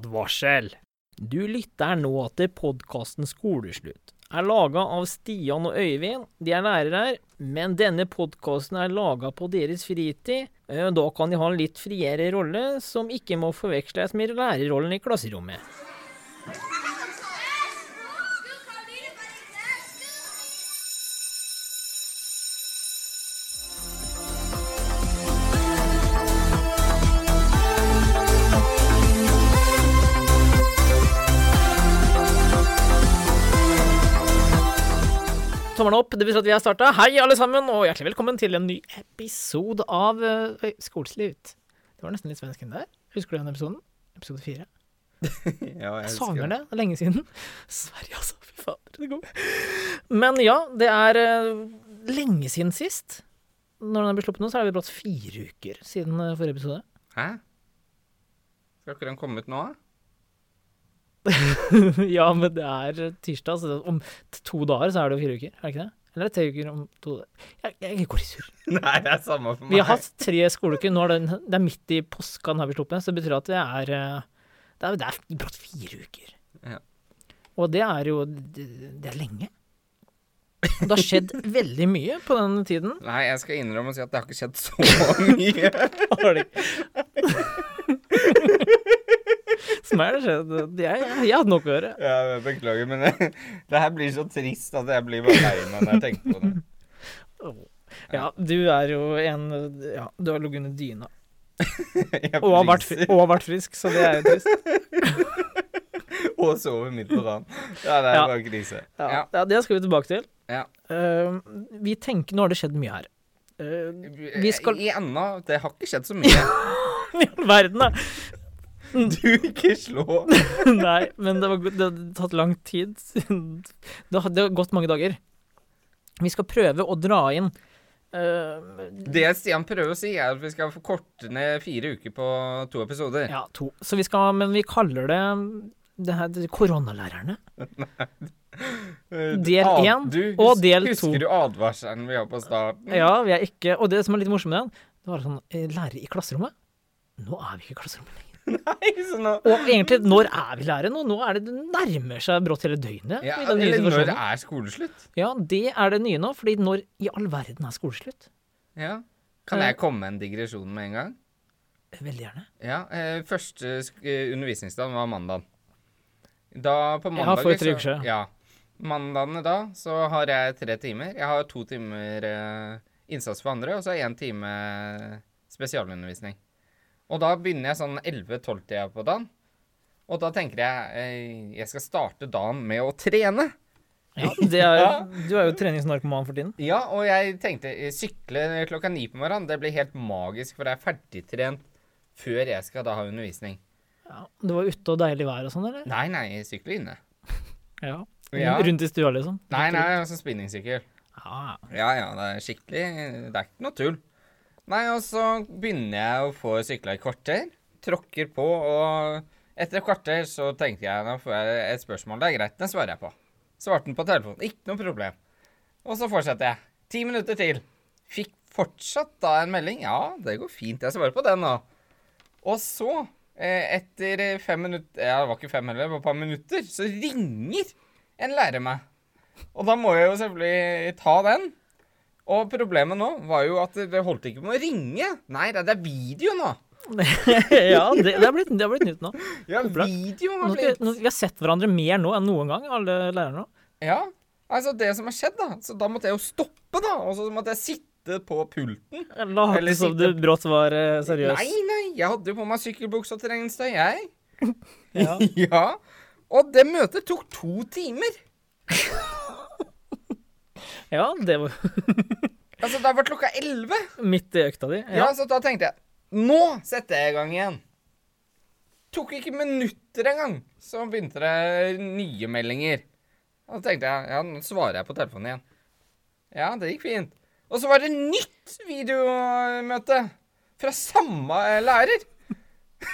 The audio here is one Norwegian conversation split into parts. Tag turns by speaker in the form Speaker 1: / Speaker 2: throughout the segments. Speaker 1: Advarsel! Du lytter nå til podkasten Skoleslutt. Er laga av Stian og Øyvind. De er lærere her, men denne podkasten er laga på deres fritid. Eh, Da kan de ha en litt friere rolle, som ikke må forveksles med lærerrollen i klasserommet. Tommelen opp, det betyr at vi har starta. Hei, alle sammen, og hjertelig velkommen til en ny episode av eh, Oi, Skoleslitt. Det var nesten litt svensk enn det der. Husker du den episoden? Episode fire.
Speaker 2: Ja, jeg
Speaker 1: Jeg
Speaker 2: elsker
Speaker 1: savner det. Det er lenge siden. Sverige, altså. Fy fader, det går Men ja, det er eh, lenge siden sist. Når den ble sluppet nå, så er det vel brått fire uker siden eh, forrige episode.
Speaker 2: Hæ? Skal ikke den komme ut nå? da?
Speaker 1: ja, men det er eh, tirsdag, så det- om t- to dager så er det jo fire uker, er det ikke det? Eller er det tre uker om to Jeg, jeg går i surr.
Speaker 2: Nei, det er samme for meg.
Speaker 1: Vi har hatt tre skoleuker. Nå er den, det er midt i påska den har vi sluppet, så det betyr at det er eh, Det er, det er brått fire uker.
Speaker 2: Ja.
Speaker 1: Og det er jo Det, det er lenge. Og det har skjedd veldig mye på den tiden.
Speaker 2: Nei, jeg skal innrømme og si at det har ikke skjedd så mye.
Speaker 1: Har det Som er det skjedd. Jeg, jeg, jeg hadde nok å gjøre.
Speaker 2: ja, jeg beklager, men det, det her blir så trist at jeg blir bare lei meg når jeg tenker på det.
Speaker 1: Ja, du er jo en Ja, du har ligget under dyna.
Speaker 2: Jeg
Speaker 1: Og har, vært, fri-
Speaker 2: fryser
Speaker 1: og har vært frisk, så det er jo trist.
Speaker 2: og sover midt på dagen. Ja, det er
Speaker 1: Ja.
Speaker 2: bare krise.
Speaker 1: Ja,
Speaker 2: Ja.
Speaker 1: ja, det skal vi tilbake til.
Speaker 2: Ja.
Speaker 1: Eh, vi tenker, Nå har det skjedd mye her. Eh, Vi skal-
Speaker 2: I enda, det har ikke skjedd så mye.
Speaker 1: I all verden, da!
Speaker 2: Du ikke slå.
Speaker 1: Nei, men det, var, go- det hadde tatt lang tid. siden- Det hadde gått mange dager. Vi skal prøve å dra inn eh,
Speaker 2: Det Stian prøver å si, er at vi skal få korte ned fire uker på to episoder.
Speaker 1: Ja, to. Så vi skal Men vi kaller det det her det- Koronalærerne.
Speaker 2: Eh,
Speaker 1: del
Speaker 2: ad-
Speaker 1: én
Speaker 2: du,
Speaker 1: og
Speaker 2: hus-
Speaker 1: del to.
Speaker 2: Husker du advarselen vi har på starten?
Speaker 1: Ja, vi er ikke Og det som er litt morsomt med den, det var sånn eh, Lærere i klasserommet. Nå er vi ikke i klasserommet lenger.
Speaker 2: Nei, så nå...
Speaker 1: Og egentlig, når er vi lærere nå? Nå er det, det nærmer seg brått hele døgnet.
Speaker 2: Ja,
Speaker 1: i den nye
Speaker 2: eller når
Speaker 1: situasjonen.
Speaker 2: er skoleslutt?
Speaker 1: Ja, det er det nye nå, fordi når i all verden er skoleslutt?
Speaker 2: Ja. Kan
Speaker 1: Ja.
Speaker 2: jeg komme med en digresjon med en gang?
Speaker 1: Veldig gjerne.
Speaker 2: Ja, eh, Første sk- eh, undervisningsdag var mandag. Da på
Speaker 1: Ja,
Speaker 2: mandag
Speaker 1: for tre uker siden.
Speaker 2: Ja. Mandagene da, så har jeg tre timer. Jeg har to timer eh, innsats for andre, og så én time eh, spesialundervisning. Og da begynner jeg sånn 11-12-tida på dagen. Og da tenker jeg eh, jeg skal starte dagen med å trene.
Speaker 1: Ja, det er,
Speaker 2: Ja.
Speaker 1: du er jo treningsnarkoman for tiden.
Speaker 2: Ja, og jeg tenkte eh, sykle klokka ni på morgenen, det blir helt magisk, for jeg er ferdigtrent før jeg skal da ha undervisning.
Speaker 1: Ja, du var ute og deilig vær og sånn, eller?
Speaker 2: Nei, nei, jeg sykler inne.
Speaker 1: Ja.
Speaker 2: Ja.
Speaker 1: Rundt i stua, liksom?
Speaker 2: Nei, nei, altså spinningsykkel.
Speaker 1: Ja.
Speaker 2: Ja, ja, det er skikkelig, det er ikke noe tull. Nei, og så begynner jeg å få sykla i kvarter, tråkker på, og etter et kvarter så tenkte jeg, nå får jeg et spørsmål, det er greit, den svarer jeg på. Svarte den på telefonen, ikke noe problem. Og så fortsetter jeg. Ti minutter til. Fikk fortsatt da en melding. Ja, det går fint. Jeg svarer på den nå. Og så, eh, etter fem minutter Ja, det var ikke fem heller, det var et par minutter, så ringer en lærer meg. Og da må jeg jo selvfølgelig ta den. Og problemet nå var jo at det holdt ikke med å ringe. Nei, det det er video nå.
Speaker 1: ja det, det, er blitt, det er blitt nytt nå.
Speaker 2: Ja,
Speaker 1: Opplagt.
Speaker 2: video
Speaker 1: nå
Speaker 2: har
Speaker 1: skal,
Speaker 2: blitt
Speaker 1: nå, vi har sett hverandre mer nå enn noen gang, alle lærerne nå.
Speaker 2: Ja, altså det som har skjedd, da. Så da måtte jeg jo stoppe, da. Og så måtte jeg sitte på pulten.
Speaker 1: Jeg Late
Speaker 2: Eller
Speaker 1: som du
Speaker 2: sitte-
Speaker 1: brått var eh, seriøs.
Speaker 2: Nei, nei, jeg hadde jo på meg sykkelbukse og terrengstøy, jeg.
Speaker 1: Ja.
Speaker 2: ja. Og det møtet tok to timer.
Speaker 1: ja, det var
Speaker 2: Altså, da var klokka elleve.
Speaker 1: midt i økta di. Ja.
Speaker 2: Ja. så da tenkte jeg Nå setter jeg i gang igjen. Tok ikke minutter engang, så begynte det nye meldinger. Og så tenkte jeg ja, nå svarer jeg på telefonen igjen. Ja, det gikk fint. Og så var det nytt videomøte fra samme eh, lærer.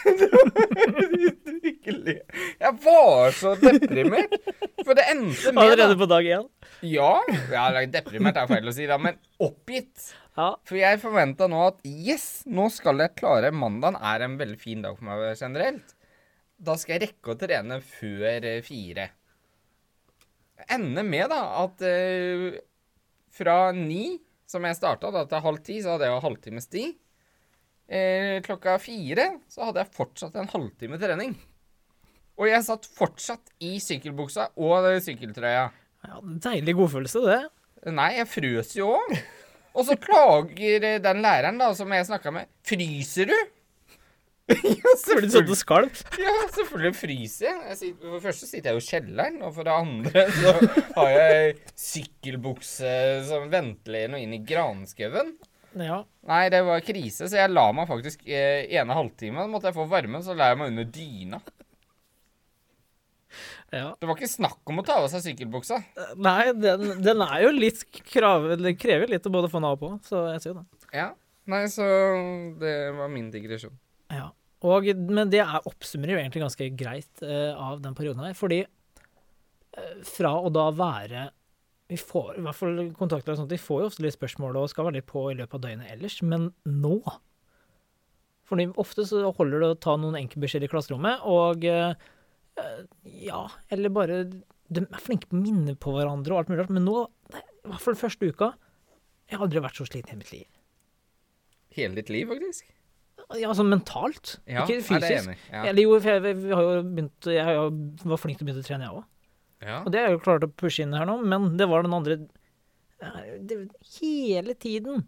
Speaker 2: Ikke le. Jeg var så deprimert, for det endte med
Speaker 1: Allerede
Speaker 2: da.
Speaker 1: på dag én.
Speaker 2: Ja, ja, deprimert er feil å si, da, men oppgitt.
Speaker 1: Ja.
Speaker 2: For jeg forventa nå at yes, nå skal jeg klare Mandagen er en veldig fin dag for meg generelt. Da skal jeg rekke å trene før eh, fire. Ende med da at eh, fra ni, som jeg starta, da til halv ti, så hadde jeg jo halvtimes tid. Eh, klokka fire så hadde jeg fortsatt en halvtime trening. Og jeg satt fortsatt i sykkelbuksa og eh, sykkeltrøya.
Speaker 1: Ja, deilig godfølelse, det.
Speaker 2: Nei, jeg frøs jo òg. Og så klager eh, den læreren da, som jeg snakka med. Fryser du? ja,
Speaker 1: Fordi du satt og skalv.
Speaker 2: ja, selvfølgelig fryser jeg. jeg sitter, for det første sitter jeg jo i kjelleren, og for det andre så har jeg sykkelbukse som ventilerer noe inn i granskauen.
Speaker 1: Ja.
Speaker 2: Nei, det var krise, så jeg la meg faktisk eh, ene halvtime. Da måtte jeg få varmen, så la jeg meg under dyna.
Speaker 1: ja.
Speaker 2: Det var ikke snakk om å ta av seg sykkelbuksa.
Speaker 1: Nei, den, den er jo litt krav, den krever litt å både få den av og på, så jeg ser jo det.
Speaker 2: Ja. Nei, så det var min digresjon.
Speaker 1: Ja. Og, men det er, oppsummerer jo egentlig ganske greit eh, av den perioden her, fordi eh, fra å da være Vi får i hvert fall kontakter og sånt, de får jo ofte litt spørsmål og skal være litt på i løpet av døgnet ellers, men nå Fordi ofte så holder det å ta noen enkeltbeskjeder i klasserommet, og eh, eh, ja, eller bare De er flinke på å minne på hverandre og alt mulig rart, men nå, det, er i hvert fall første uka Jeg har aldri vært så sliten i mitt liv.
Speaker 2: Hele ditt liv, faktisk.
Speaker 1: Ja, sånn mentalt,
Speaker 2: Ja,
Speaker 1: ikke
Speaker 2: er det
Speaker 1: fysisk.
Speaker 2: enig? Ja.
Speaker 1: Eller jo, for jeg, vi har jo begynt, jeg har jo, var flink til å begynne å trene, jeg òg.
Speaker 2: Ja.
Speaker 1: Og det har jeg jo klart å pushe inn her nå, men det var den andre eh, det, Hele tiden.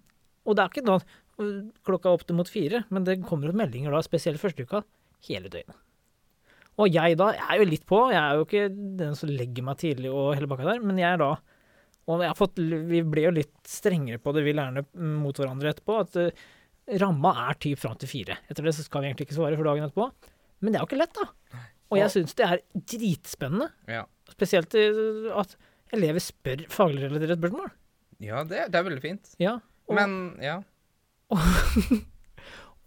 Speaker 1: Og det er ikke da eh, klokka er opp til mot fire, men det kommer jo meldinger da, spesielt første uka, hele døgnet. Og jeg da, jeg er jo litt på, jeg er jo ikke den som legger meg tidlig og hele bakka der, men jeg er da Og jeg har fått, vi ble jo litt strengere på det, vi lærerne mm, mot hverandre etterpå, at eh, ramma er typ fram til fire. Etter det så skal vi egentlig ikke svare for dagen etterpå. Men det er jo ikke lett, da. Og jeg syns det er dritspennende.
Speaker 2: Ja,
Speaker 1: Spesielt eh, at elever spør fagligrelaterte spørsmål.
Speaker 2: ja det, det er veldig fint.
Speaker 1: Ja. Og,
Speaker 2: Men ja.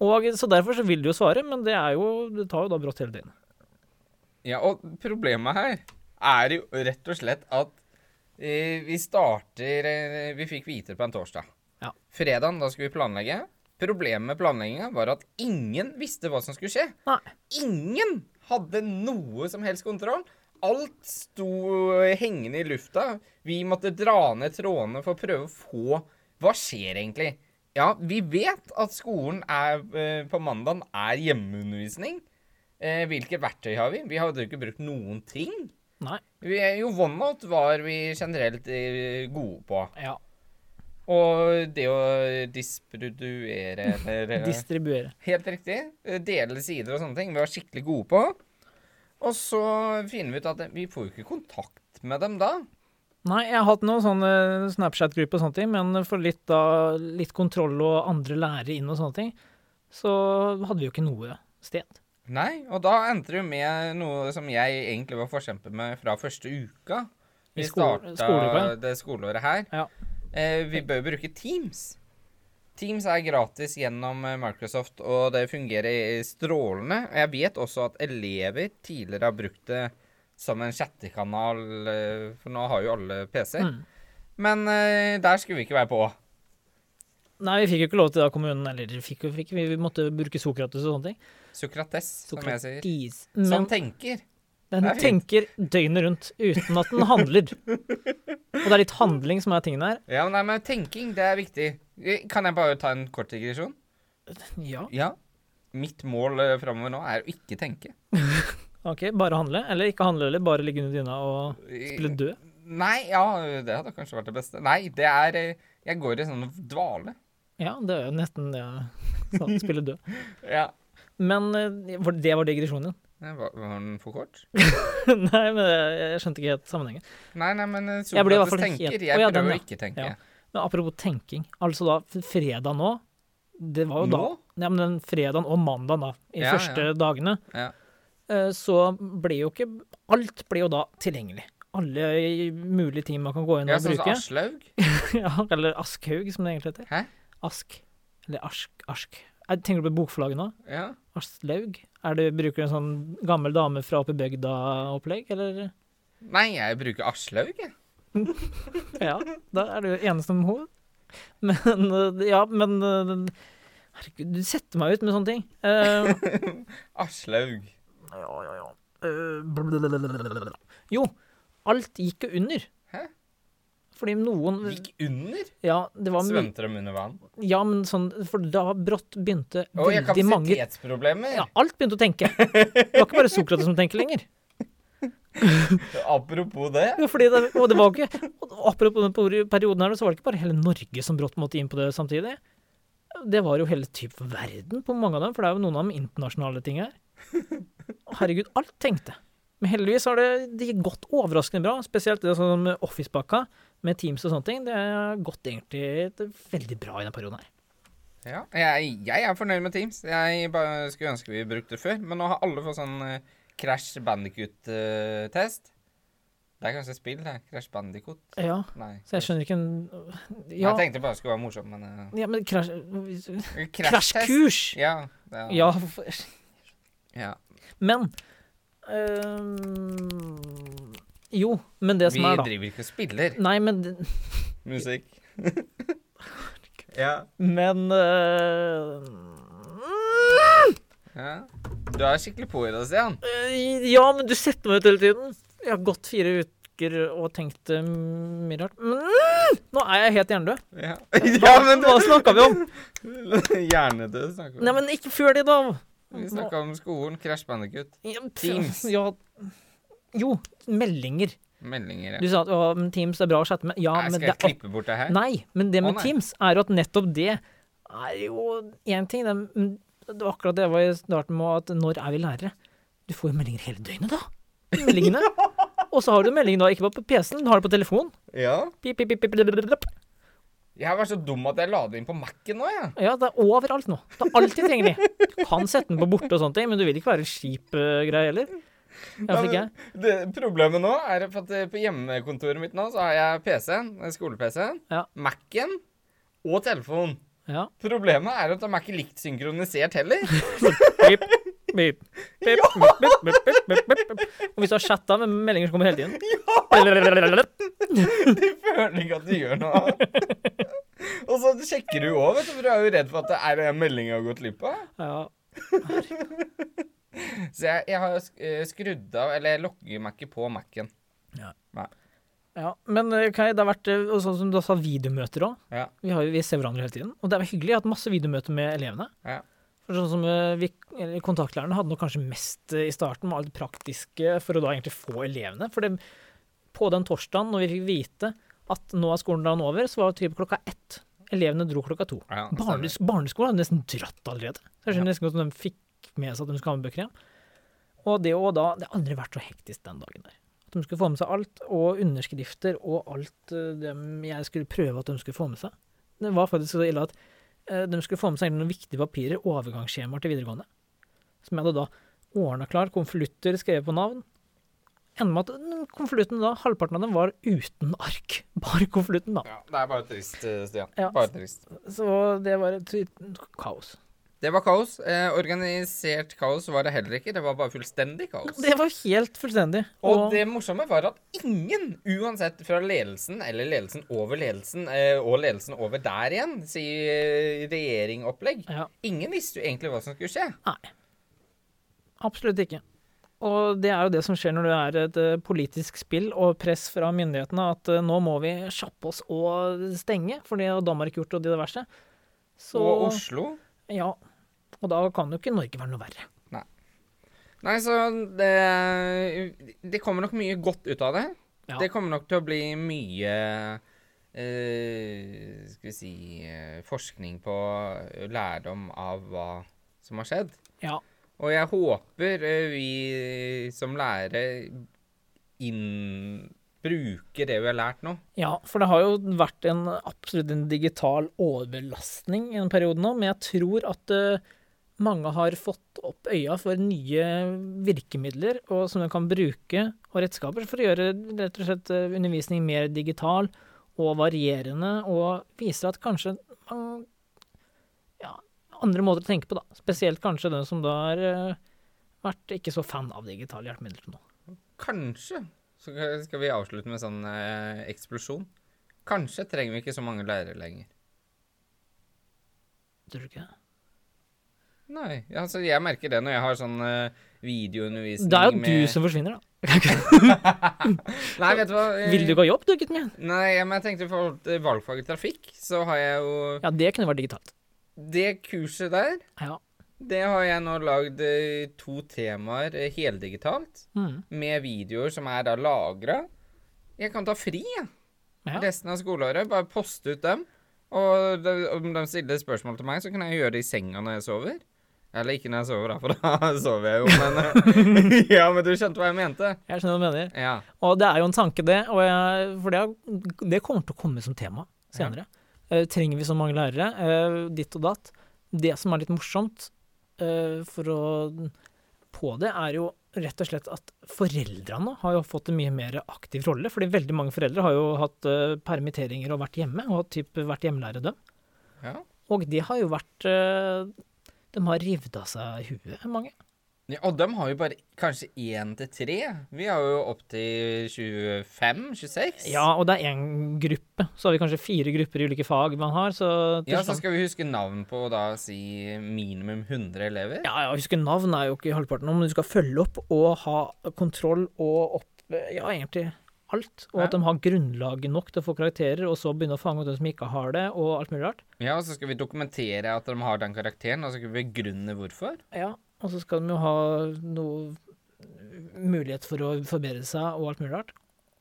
Speaker 1: og Så derfor så vil de jo svare, men det, er jo, det tar jo da brått hele tiden.
Speaker 2: Ja, og problemet her er jo rett og slett at eh, vi starter eh, Vi fikk vite det på en torsdag.
Speaker 1: Ja.
Speaker 2: Fredagen, da skulle vi planlegge. Problemet med planlegginga var at ingen visste hva som skulle skje.
Speaker 1: Nei.
Speaker 2: Ingen hadde noe som helst kontroll. Alt sto eh, hengende i lufta. Vi måtte dra ned trådene for å prøve å få Hva skjer egentlig? Ja, vi vet at skolen er, eh, på mandagen er hjemmeundervisning. Eh, hvilke verktøy har vi? Vi hadde jo ikke brukt noen ting.
Speaker 1: Nei.
Speaker 2: Vi, jo, OneNote var vi generelt eh, gode på.
Speaker 1: Ja.
Speaker 2: Og det å disprodere eller
Speaker 1: Distribuere.
Speaker 2: Helt riktig. Eh, Dele sider og sånne ting. Vi var skikkelig gode på. Og så finner vi ut at vi får jo ikke kontakt med dem da.
Speaker 1: Nei, jeg har hatt noen sånne Snapchat-grupper og sånne ting, men for litt, da, litt kontroll og andre lærere inn og sånne ting, så hadde vi jo ikke noe sted.
Speaker 2: Nei, og da endte det jo med noe som jeg egentlig var forkjemper med fra første uka.
Speaker 1: I
Speaker 2: Vi
Speaker 1: skole-
Speaker 2: starta
Speaker 1: skoleåret.
Speaker 2: det skoleåret her.
Speaker 1: Ja.
Speaker 2: Eh, vi bør bruke Teams. Teams er gratis gjennom eh, Microsoft, og det fungerer eh, strålende. Og Jeg vet også at elever tidligere har brukt det som en chattekanal, eh, for nå har jo alle PC-er.
Speaker 1: Mm.
Speaker 2: Men eh, der skulle vi ikke være på.
Speaker 1: Nei, vi fikk jo ikke lov til det av kommunen, eller fikk, jo- fikk, vi vi måtte bruke Sokrates og sånne ting.
Speaker 2: Sokrates, som jeg sier.
Speaker 1: Sokrates.
Speaker 2: Som
Speaker 1: Men
Speaker 2: tenker.
Speaker 1: den
Speaker 2: det er fint.
Speaker 1: tenker døgnet rundt uten at den handler. Og det er litt handling som er tingen her.
Speaker 2: Ja, men nei, men tenking, det er viktig. Eh, Kan jeg bare ta en kort digresjon?
Speaker 1: Ja.
Speaker 2: Ja. Mitt mål eh, framover nå er å ikke tenke.
Speaker 1: Ok, bare handle, eller ikke handle, eller bare ligge under dyna og spille død.
Speaker 2: Eh, Nei, ja, det hadde kanskje vært det beste. Nei, det er eh, Jeg går i sånn dvale.
Speaker 1: Ja, det er jo nesten det jeg sa, spille død.
Speaker 2: Ja.
Speaker 1: Men eh, for det var digresjonen din.
Speaker 2: Var, var den for kort?
Speaker 1: Nei, men jeg jeg skjønte ikke helt sammenhengen.
Speaker 2: Nei, nei, men eh,
Speaker 1: Jeg ble i hvert
Speaker 2: Sokrates
Speaker 1: fall
Speaker 2: tenker.
Speaker 1: helt-
Speaker 2: Jeg
Speaker 1: Å, ja,
Speaker 2: prøver
Speaker 1: den,
Speaker 2: å
Speaker 1: ja.
Speaker 2: ikke tenke.
Speaker 1: Ja. Men apropos tenking, altså da f- fredag nå Det var jo da
Speaker 2: Nå?
Speaker 1: Nei, men den fredagen og mandagen, da, i
Speaker 2: Ja,
Speaker 1: første dagene,
Speaker 2: Ja.
Speaker 1: eh, så ble jo ikke Alt ble jo da tilgjengelig. Alle mulige ting man kan gå inn
Speaker 2: Ja,
Speaker 1: og
Speaker 2: sånn som
Speaker 1: bruke.
Speaker 2: Aslaug.
Speaker 1: ja, eller Askhaug, som det egentlig heter.
Speaker 2: Hæ?
Speaker 1: Ask. Eller Ask. Ask. Jeg tenker du på bokforlaget nå?
Speaker 2: Ja.
Speaker 1: Aslaug? Er det, bruker du en sånn gammel dame fra oppe i bygda-opplegg, eller?
Speaker 2: Nei, jeg bruker Aslaug, jeg.
Speaker 1: Ja, da er du eneste om henne. Men eh, Ja, men eh, Herregud, du setter meg ut med sånne ting. Eh,
Speaker 2: Aslaug.
Speaker 1: Ja, ja, Eh, ja. Eh, blablabla. Jo, alt gikk jo under.
Speaker 2: Hæ?
Speaker 1: Fordi noen
Speaker 2: Gikk under?
Speaker 1: Ja, det var mye
Speaker 2: Svømte de under vann?
Speaker 1: Ja, men sånn For da brått begynte
Speaker 2: Å, ja,
Speaker 1: veldig mange
Speaker 2: kapasitetsproblemer.
Speaker 1: Ja, alt begynte å tenke. Det var ikke bare Sokrates som tenker lenger.
Speaker 2: Apropos det.
Speaker 1: Jo, Fordi det, og det var jo ikke og Apropos den peri- perioden her, så var det ikke bare hele Norge som brått måtte inn på det samtidig. Det var jo hele typ verden på mange av dem, for det er jo noen av de internasjonale ting her. Herregud, alt tenkte. Men heldigvis har det, det gikk gått overraskende bra, spesielt det sånn med Office-pakka, med Teams og sånne ting. Det har gått egentlig veldig bra i den perioden her.
Speaker 2: Ja, jeg, jeg er fornøyd med Teams. Jeg bare skulle ønske vi brukte det før, men nå har alle fått sånn eh, Crash Bandicoot-test. Det er kanskje spill, det. Crash Bandicoot.
Speaker 1: Ja,
Speaker 2: Nei.
Speaker 1: så jeg skjønner ikke en Ja,
Speaker 2: Jeg tenkte bare det skulle være morsomt, men
Speaker 1: ja men krasj...
Speaker 2: eh, Crash-test.
Speaker 1: Krasjkurs!
Speaker 2: Ja, ja.
Speaker 1: Ja, for-
Speaker 2: ja.
Speaker 1: Men øhm, Jo, men det
Speaker 2: Vi
Speaker 1: som er, da
Speaker 2: driver ikke og spiller
Speaker 1: Nei, men,
Speaker 2: musikk. ja.
Speaker 1: men øh,
Speaker 2: ja. Du er skikkelig på i det, Stian.
Speaker 1: øh, Ja, men du setter meg ut hele tiden. Jeg har gått fire uker og tenkt øh, mye rart. Men nå er jeg helt hjernedød.
Speaker 2: Ja,
Speaker 1: Hva, hva snakka vi om?
Speaker 2: Hjernedød snakker vi
Speaker 1: Nei,
Speaker 2: om.
Speaker 1: men ikke før det, da.
Speaker 2: Vi snakka om skolen, Crash Bandicoot,
Speaker 1: Ja, pff,
Speaker 2: Teams.
Speaker 1: Ja, jo, meldinger.
Speaker 2: meldinger
Speaker 1: Du
Speaker 2: ja.
Speaker 1: sa at å, men Teams er bra å chatte med. Ja,
Speaker 2: Nei,
Speaker 1: men
Speaker 2: Skal
Speaker 1: det
Speaker 2: jeg
Speaker 1: er
Speaker 2: klippe bort det her?
Speaker 1: Nei, men det
Speaker 2: Å,
Speaker 1: med
Speaker 2: nei.
Speaker 1: Teams er jo at nettopp det er jo én ting. Det, men det var akkurat det jeg var i starten med at når er vi lærere? Du får jo meldinger hele døgnet, da. Meldingene. Og så har du meldingen da, ikke bare på PC-en, du har det på telefonen.
Speaker 2: Ja.
Speaker 1: Pip, pip, pip, pip, pip, pip, pip.
Speaker 2: Jeg var så dum at jeg la det inn på Mac-en nå, jeg.
Speaker 1: Ja, det er overalt nå. Det er alltid tilgjengelig. Du kan sette den på borte og sånne ting, men du vil ikke være en skip eh, greie heller. Iallfall ikke
Speaker 2: Ja,
Speaker 1: jeg.
Speaker 2: men det- Problemet nå er at eh, på hjemmekontoret mitt nå så har jeg PC-en, eh, skole-PC-en,
Speaker 1: Ja.
Speaker 2: Mac-en og telefon.
Speaker 1: Ja.
Speaker 2: Problemet er at de er ikke likt synkronisert heller.
Speaker 1: Pip, pip, pip, pip, pip, pip, pip, pip, pip. Og hvis du har chatta med meldinger som kommer hele tiden
Speaker 2: Du føler ikke at du gjør noe. Og så sjekker du òg, vet du, for du er jo redd for at det er en melding jeg har gått glipp av.
Speaker 1: Ja.
Speaker 2: Så jeg, jeg har sk- eh, skrudd av, eller jeg logger meg ikke på Mac-en.
Speaker 1: Ja, men eh, Kai, det har vært eh, og sånn som du sa, videomøter òg.
Speaker 2: Ja.
Speaker 1: Vi, har jo- vi ser hverandre hele tiden. Og det er jo hyggelig. Jeg har hatt masse videomøter med elevene.
Speaker 2: Ja.
Speaker 1: For sånn som eh, vi, eller Kontaktlærerne hadde nok kanskje mest eh, i starten med alt det praktiske for å da egentlig få elevene. For det, på den torsdagen når vi fikk vite at nå er skolen dagen over, så var det typ klokka ett. Elevene dro klokka to.
Speaker 2: Ja, det stemmer.
Speaker 1: Barnes, barneskolen hadde nesten dratt allerede. Så jeg skjønner nesten godt at de fikk med seg at de skulle ha med bøker hjem. Og det, og da, det har aldri vært så hektisk den dagen der. At de skulle få med seg alt, og underskrifter og alt eh, dem jeg skulle prøve at de skulle få med seg. Det var faktisk så ille at eh, de skulle få med seg egentlig noen viktige papirer, overgangsskjemaer til videregående. Som jeg hadde da ordna klar, konvolutter skrevet på navn. Enda med at mm, konvolutten da, halvparten av dem var uten ark. Bare konvolutten, da.
Speaker 2: Ja, det er bare trist, eh, Stian.
Speaker 1: Ja.
Speaker 2: Bare trist.
Speaker 1: Så det var et kaos.
Speaker 2: Det var kaos. Eh, organisert kaos var det heller ikke. Det var bare fullstendig kaos.
Speaker 1: Det var helt fullstendig.
Speaker 2: Og det morsomme var at ingen, uansett fra ledelsen, eller ledelsen over ledelsen, eh, og ledelsen over der igjen, sier regjeringopplegg,
Speaker 1: Ja,
Speaker 2: ingen visste jo egentlig hva som skulle skje.
Speaker 1: nei. Absolutt ikke. Og det er jo det som skjer når det er et eh, politisk spill og press fra myndighetene at eh, nå må vi kjappe oss og stenge, for det har Danmark gjort og de diverse. Så
Speaker 2: Og Oslo
Speaker 1: ja. Og da kan jo ikke Norge være noe verre.
Speaker 2: Nei, så det, det kommer nok mye godt ut av det.
Speaker 1: Ja.
Speaker 2: Det kommer nok til å bli mye eh, Skal vi si eh, forskning på lærdom av hva som har skjedd.
Speaker 1: Ja.
Speaker 2: Og jeg håper eh, vi som lærere inn... bruker det vi har lært nå.
Speaker 1: Ja, for det har jo vært en absolutt en digital overbelastning i en periode nå, men jeg tror at eh, mange har fått opp øya for nye virkemidler og som de kan bruke, og redskaper for å gjøre rett og slett eh, undervisning mer digital og varierende, og viser at kanskje man ja, andre måter å tenke på, da. Spesielt kanskje den som da har eh, vært ikke så fan av digitale hjelpemidler til nå.
Speaker 2: Kanskje så skal vi avslutte med sånn eh, eksplosjon. Kanskje trenger vi ikke så mange lærere lenger.
Speaker 1: Tror du ikke det?
Speaker 2: Nei, altså jeg merker det når jeg har sånn eh, videoundervisning
Speaker 1: Det er jo
Speaker 2: med-
Speaker 1: du som forsvinner, da.
Speaker 2: Nei, vet du hva? eh,
Speaker 1: Vil du ikke ha jobb, du, gutten min?
Speaker 2: Nei, men jeg tenkte i forhold til valgfaget trafikk, så har jeg jo
Speaker 1: Ja, det kunne vært digitalt.
Speaker 2: Det kurset der,
Speaker 1: Ja.
Speaker 2: det har jeg nå lagd eh, to temaer eh, heldigitalt.
Speaker 1: Mm.
Speaker 2: Med videoer som er da lagra. Jeg kan ta fri, jeg.
Speaker 1: Ja.
Speaker 2: Resten av skoleåret. Bare poste ut dem. Og de, om de stiller spørsmål til meg, så kan jeg gjøre det i senga når jeg sover. Eller ikke når jeg sover, da, for da sover jeg jo, men eh, Ja, men du skjønte hva jeg mente.
Speaker 1: Jeg skjønner hva du mener.
Speaker 2: Ja.
Speaker 1: Og det er jo en tanke, det. Og jeg, for det, er- det kommer til å komme som tema senere. Eh, trenger vi så mange lærere? Eh, ditt og datt. Det som er litt morsomt eh, for å på det, er jo rett og slett at foreldrene har jo fått en mye mer aktiv rolle. Fordi veldig mange foreldre har jo hatt eh, permitteringer og vært hjemme, og har typ vært hjemmelærer dem.
Speaker 2: Ja.
Speaker 1: Og de har jo vært eh, De har revet av seg huet, mange.
Speaker 2: Ja, og de har jo bare kanskje én til tre. Vi har jo opptil 25-26.
Speaker 1: Ja, og det er én gruppe. Så har vi kanskje fire grupper i ulike fag man har. Så til
Speaker 2: ja,
Speaker 1: slutt-
Speaker 2: så skal vi huske navn på da si minimum 100 elever.
Speaker 1: Ja, ja, husker navn er jo ikke halvparten av, men du skal følge opp og ha kontroll og opp Ja, egentlig alt. Og at de har grunnlaget nok til å få karakterer, og så begynne å fange opp dem som ikke har det, og alt mulig rart.
Speaker 2: Ja, og så skal vi dokumentere at de har den karakteren, og så skal vi begrunne hvorfor.
Speaker 1: Ja, og så skal de jo ha noe mulighet for å forbedre seg og alt mulig rart.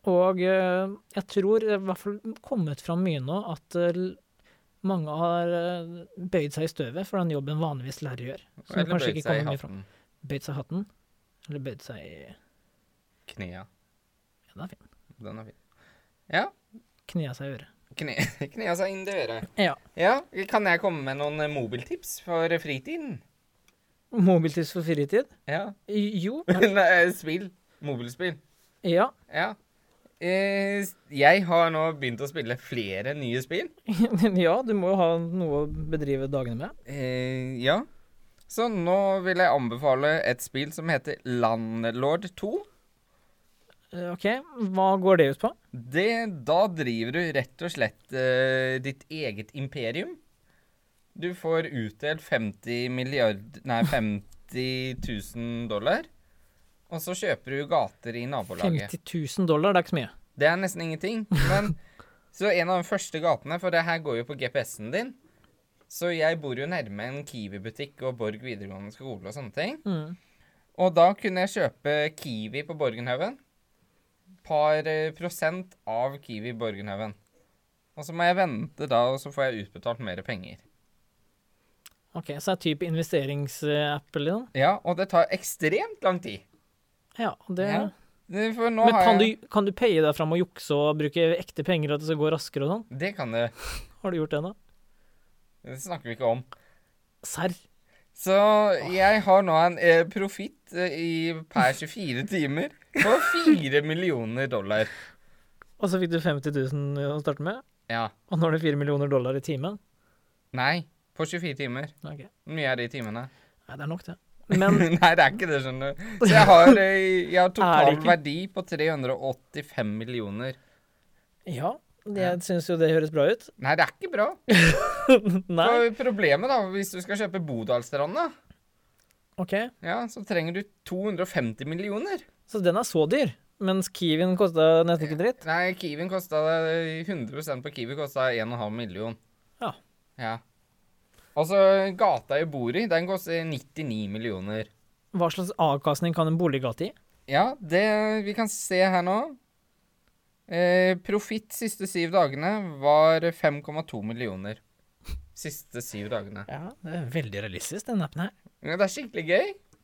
Speaker 1: Og eh, jeg tror det er i hvert fall kommet fram mye nå at eh, l- mange har eh, bøyd seg i støvet for den jobben vanligvis lærere gjør. Som
Speaker 2: Eller
Speaker 1: kanskje
Speaker 2: bøyd
Speaker 1: ikke
Speaker 2: seg i
Speaker 1: kommer mye fram.
Speaker 2: hatten.
Speaker 1: Bøyd seg i hatten, eller bøyd seg i ja,
Speaker 2: Knea.
Speaker 1: det er fint.
Speaker 2: Den er fin. Ja.
Speaker 1: Knea seg i øret.
Speaker 2: Kne, knea seg inn det øret.
Speaker 1: Ja.
Speaker 2: Ja, kan jeg komme med noen eh, mobiltips for fritiden?
Speaker 1: Mobiltids for fritid?
Speaker 2: Ja.
Speaker 1: Jo.
Speaker 2: Nei, Spill. Mobilspill.
Speaker 1: Ja.
Speaker 2: Ja. Eh, jeg har nå begynt å spille flere nye spill.
Speaker 1: ja, du må jo ha noe å bedrive dagene med.
Speaker 2: Eh, ja. Så nå vil jeg anbefale et spill som heter Landlord 2.
Speaker 1: Eh, OK, hva går det ut på?
Speaker 2: Det, da driver du rett og slett eh, ditt eget imperium. Du får utdelt 50 milliard... Nei, 50 000 dollar. Og så kjøper du gater i nabolaget.
Speaker 1: 50 000 dollar, det er ikke så mye.
Speaker 2: Det er nesten ingenting. Men så en av de første gatene, for det her går jo på GPS-en din. Så jeg bor jo nærme en Kiwi-butikk og Borg videregående skole og sånne ting.
Speaker 1: Mm.
Speaker 2: Og da kunne jeg kjøpe Kiwi på Borgenhaugen. Par eh, prosent av Kiwi Borgenhaugen. Og så må jeg vente da, og så får jeg utbetalt mer penger.
Speaker 1: Ok, Så er det type investeringsapp eller noe?
Speaker 2: Ja, og det tar ekstremt lang tid.
Speaker 1: Ja, det
Speaker 2: Ja, Det- For nå
Speaker 1: Men
Speaker 2: har
Speaker 1: kan du,
Speaker 2: jeg...
Speaker 1: kan du paye deg fram og jukse og bruke ekte penger, at det skal gå raskere og sånn?
Speaker 2: Det kan du.
Speaker 1: Har du gjort det nå?
Speaker 2: Det snakker vi ikke om.
Speaker 1: Serr?
Speaker 2: Så jeg har nå en eh, profitt eh, i per 24 timer på 4 millioner dollar.
Speaker 1: Og så fikk du 50 000 å starte med,
Speaker 2: Ja.
Speaker 1: og nå er det 4 millioner dollar i timen?
Speaker 2: Nei, på 24 timer.
Speaker 1: Ok,
Speaker 2: Hvor mye er det i timene?
Speaker 1: Nei, det er nok, det. Men
Speaker 2: Nei, det er ikke det, skjønner du. Så jeg har, eh, jeg har
Speaker 1: Er
Speaker 2: total
Speaker 1: det ikke?
Speaker 2: verdi på 385 millioner.
Speaker 1: ja, jeg syns jo det høres bra ut.
Speaker 2: Nei, det er ikke bra.
Speaker 1: Nei,
Speaker 2: For problemet, da, hvis du skal kjøpe Bodalstrand, da,
Speaker 1: OK.
Speaker 2: ja, så trenger du 250 millioner.
Speaker 1: Så den er så dyr, mens Kiwien kosta nesten ikke dritt.
Speaker 2: Nei, Kiwien kosta 100 på Kiwi kosta 1,5 million.
Speaker 1: Ja.
Speaker 2: ja. Og så gata jeg bor i, den koster 99 millioner.
Speaker 1: Hva slags avkastning kan en boliggate gi?
Speaker 2: Ja, det vi kan se her nå eh, Profitt siste syv dagene var 5,2 millioner. Siste syv dagene.
Speaker 1: Ja, det er veldig realistisk, den appen her.
Speaker 2: Ja, det er skikkelig gøy.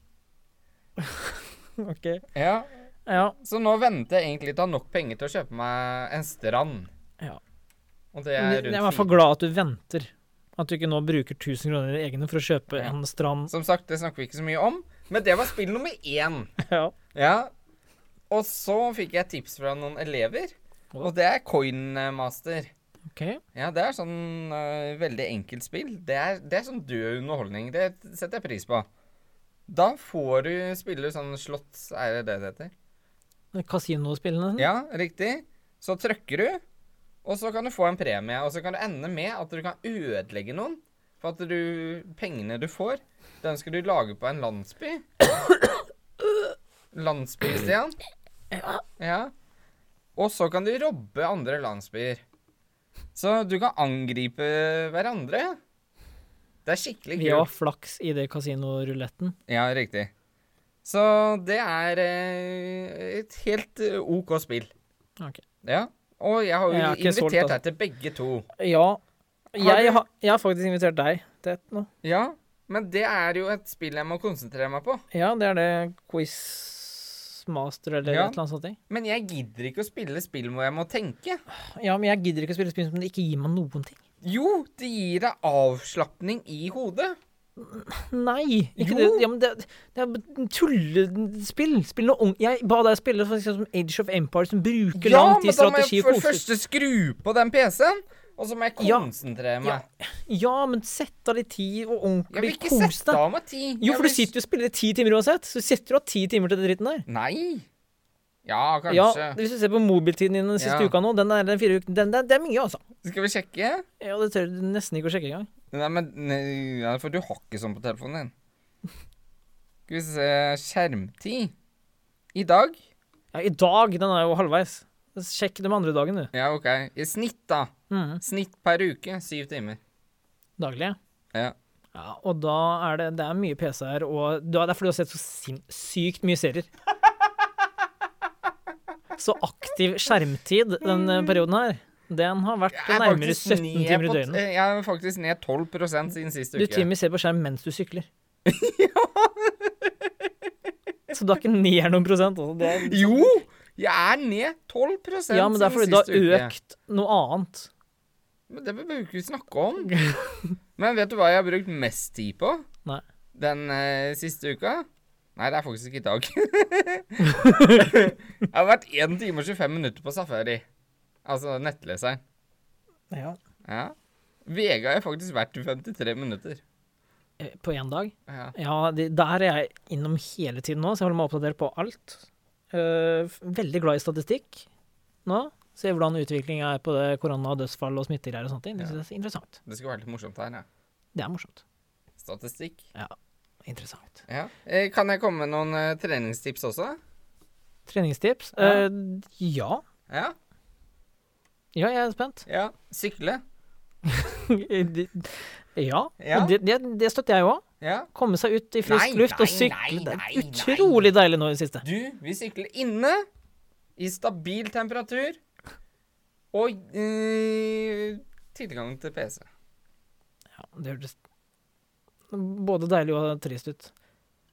Speaker 1: Ok.
Speaker 2: Ja,
Speaker 1: Ja,
Speaker 2: Så nå venter jeg egentlig til jeg har nok penger til å kjøpe meg en strand.
Speaker 1: Ja.
Speaker 2: Og det er
Speaker 1: Jeg
Speaker 2: rundt
Speaker 1: er i hvert fall
Speaker 2: fire-
Speaker 1: glad at du venter. At du ikke nå bruker 1000 kroner i egne for å kjøpe
Speaker 2: Ja.
Speaker 1: en strand.
Speaker 2: Som sagt, det snakker vi ikke så mye om, men det var spill nummer én.
Speaker 1: Ja.
Speaker 2: Ja. Og så fikk jeg tips fra noen elever, og det er Coinmaster.
Speaker 1: Ok.
Speaker 2: Ja, det er sånn øh, veldig enkelt spill. Det er, det er sånn død underholdning. Det setter jeg pris på. Da får du spille sånn slotts, er det det det heter?
Speaker 1: Kasinospillene?
Speaker 2: Ja, riktig. Så trykker du, og så kan du få en premie. Og så kan det ende med at du kan ødelegge noen. For at du, pengene du får, den skal du lage på en landsby. landsbyer, Stian.
Speaker 1: Ja.
Speaker 2: Ja. Og så kan du robbe andre landsbyer. Så du kan angripe hverandre. Det er skikkelig
Speaker 1: Vi har
Speaker 2: kult.
Speaker 1: flaks i det kasinoruletten.
Speaker 2: Ja, riktig. Så det er eh, et helt eh, OK spill.
Speaker 1: Ok.
Speaker 2: Ja. Og jeg har jo
Speaker 1: Jeg er ikke solgt,
Speaker 2: invitert
Speaker 1: altså.
Speaker 2: deg til begge to.
Speaker 1: Ja.
Speaker 2: du-
Speaker 1: Jeg, har- jeg har faktisk invitert deg til et nå.
Speaker 2: Ja, men det er jo et spill jeg må konsentrere meg på.
Speaker 1: Ja, det er det quizmaster eller
Speaker 2: Ja.
Speaker 1: et eller annet sånt. ting.
Speaker 2: Men jeg gidder ikke å spille spill hvor jeg må tenke.
Speaker 1: Ja, men jeg gidder ikke å spille spill som det ikke gir meg noen ting.
Speaker 2: Jo, det gir deg avslapning i hodet.
Speaker 1: Nei! Ikke
Speaker 2: Jo.
Speaker 1: det. Ja, men det, det er tullespill. Spill noe ung... Jeg ba deg spille for eksempel som Age of Empires, som bruker
Speaker 2: Ja,
Speaker 1: lang tid
Speaker 2: men da må
Speaker 1: strategi og
Speaker 2: jeg for det
Speaker 1: kose.
Speaker 2: første skru på den PC-en, og så må jeg
Speaker 1: Ja.
Speaker 2: konsentrere
Speaker 1: Ja,
Speaker 2: meg.
Speaker 1: ja, men sett av litt tid og
Speaker 2: Jeg vil
Speaker 1: ordentlig
Speaker 2: ikke
Speaker 1: kos
Speaker 2: sette
Speaker 1: deg.
Speaker 2: av meg tid.
Speaker 1: Jo,
Speaker 2: Jeg
Speaker 1: for
Speaker 2: vil
Speaker 1: du sitter jo og spiller i ti timer uansett. Så setter du av ti timer til den dritten der.
Speaker 2: s- Nei. Ja, kanskje.
Speaker 1: Ja, Hvis du ser på mobiltiden din den siste
Speaker 2: Ja.
Speaker 1: uka nå, den der den fire uken, den, den, det er mye, altså.
Speaker 2: Skal vi sjekke?
Speaker 1: Ja, det tør du nesten ikke å sjekke engang.
Speaker 2: Nei, men nei, ja, For du har ikke sånn på telefonen din. Skal vi se Skjermtid. I dag?
Speaker 1: Ja, I dag, den er jo halvveis. Sjekk de andre dagene, du.
Speaker 2: Ja, OK. I snitt, da.
Speaker 1: Mhm.
Speaker 2: Snitt per uke. Syv timer.
Speaker 1: Daglig.
Speaker 2: Ja.
Speaker 1: Ja, og da er det, det er mye PC her, og da- det er fordi du har sett så sinnssykt mye serier. Så aktiv skjermtid den eh, perioden her, den har vært
Speaker 2: Jeg er
Speaker 1: nærmere
Speaker 2: faktisk
Speaker 1: 17
Speaker 2: ned
Speaker 1: timer i
Speaker 2: på-
Speaker 1: døgnet.
Speaker 2: Jeg er faktisk ned 12 siden siste
Speaker 1: Du
Speaker 2: uke.
Speaker 1: Timmy ser på skjerm mens du sykler. Så du er ikke ned noen prosent. Altså. Det er,
Speaker 2: Jo! Jeg er ned 12 siden
Speaker 1: ja, men det er fordi du har
Speaker 2: siste uke.
Speaker 1: økt noe annet.
Speaker 2: Men det behøver vi ikke snakke om. Men vet du hva jeg har brukt mest tid på
Speaker 1: Nei.
Speaker 2: den eh, siste uka? Nei, det er faktisk ikke i dag. jeg har vært 1 time og 25 minutter på Safari. Altså nettleseren.
Speaker 1: Ja.
Speaker 2: Ja. VG har jeg faktisk vært i 53 minutter.
Speaker 1: Eh, På én dag?
Speaker 2: Ja.
Speaker 1: Ja, det, der er jeg innom hele tiden nå, så jeg holder meg oppdatert på alt. Eh, f- veldig glad i statistikk nå. Ser hvordan utviklinga er på det korona og dødsfall og smittegreier og sånne ting. Det
Speaker 2: Ja.
Speaker 1: synes jeg er interessant.
Speaker 2: Det skal være litt morsomt her, ja.
Speaker 1: Det er morsomt.
Speaker 2: Statistikk.
Speaker 1: Interessant.
Speaker 2: Ja. Eh, kan jeg komme med noen eh, treningstips også?
Speaker 1: Treningstips?
Speaker 2: Ja.
Speaker 1: Eh, ja.
Speaker 2: Ja.
Speaker 1: Ja, jeg er spent.
Speaker 2: ja. Sykle.
Speaker 1: ja.
Speaker 2: Ja.
Speaker 1: Og det, det, det støtter jeg jo òg.
Speaker 2: Ja.
Speaker 1: Komme seg ut i frisk
Speaker 2: Nei,
Speaker 1: luft og
Speaker 2: nei,
Speaker 1: sykle.
Speaker 2: nei,
Speaker 1: Det
Speaker 2: nei,
Speaker 1: er
Speaker 2: nei.
Speaker 1: utrolig deilig nå i det siste.
Speaker 2: Du, vi sykler inne i stabil temperatur og eh, tilgang til PC.
Speaker 1: Ja, det hørtes både deilig og trist ut.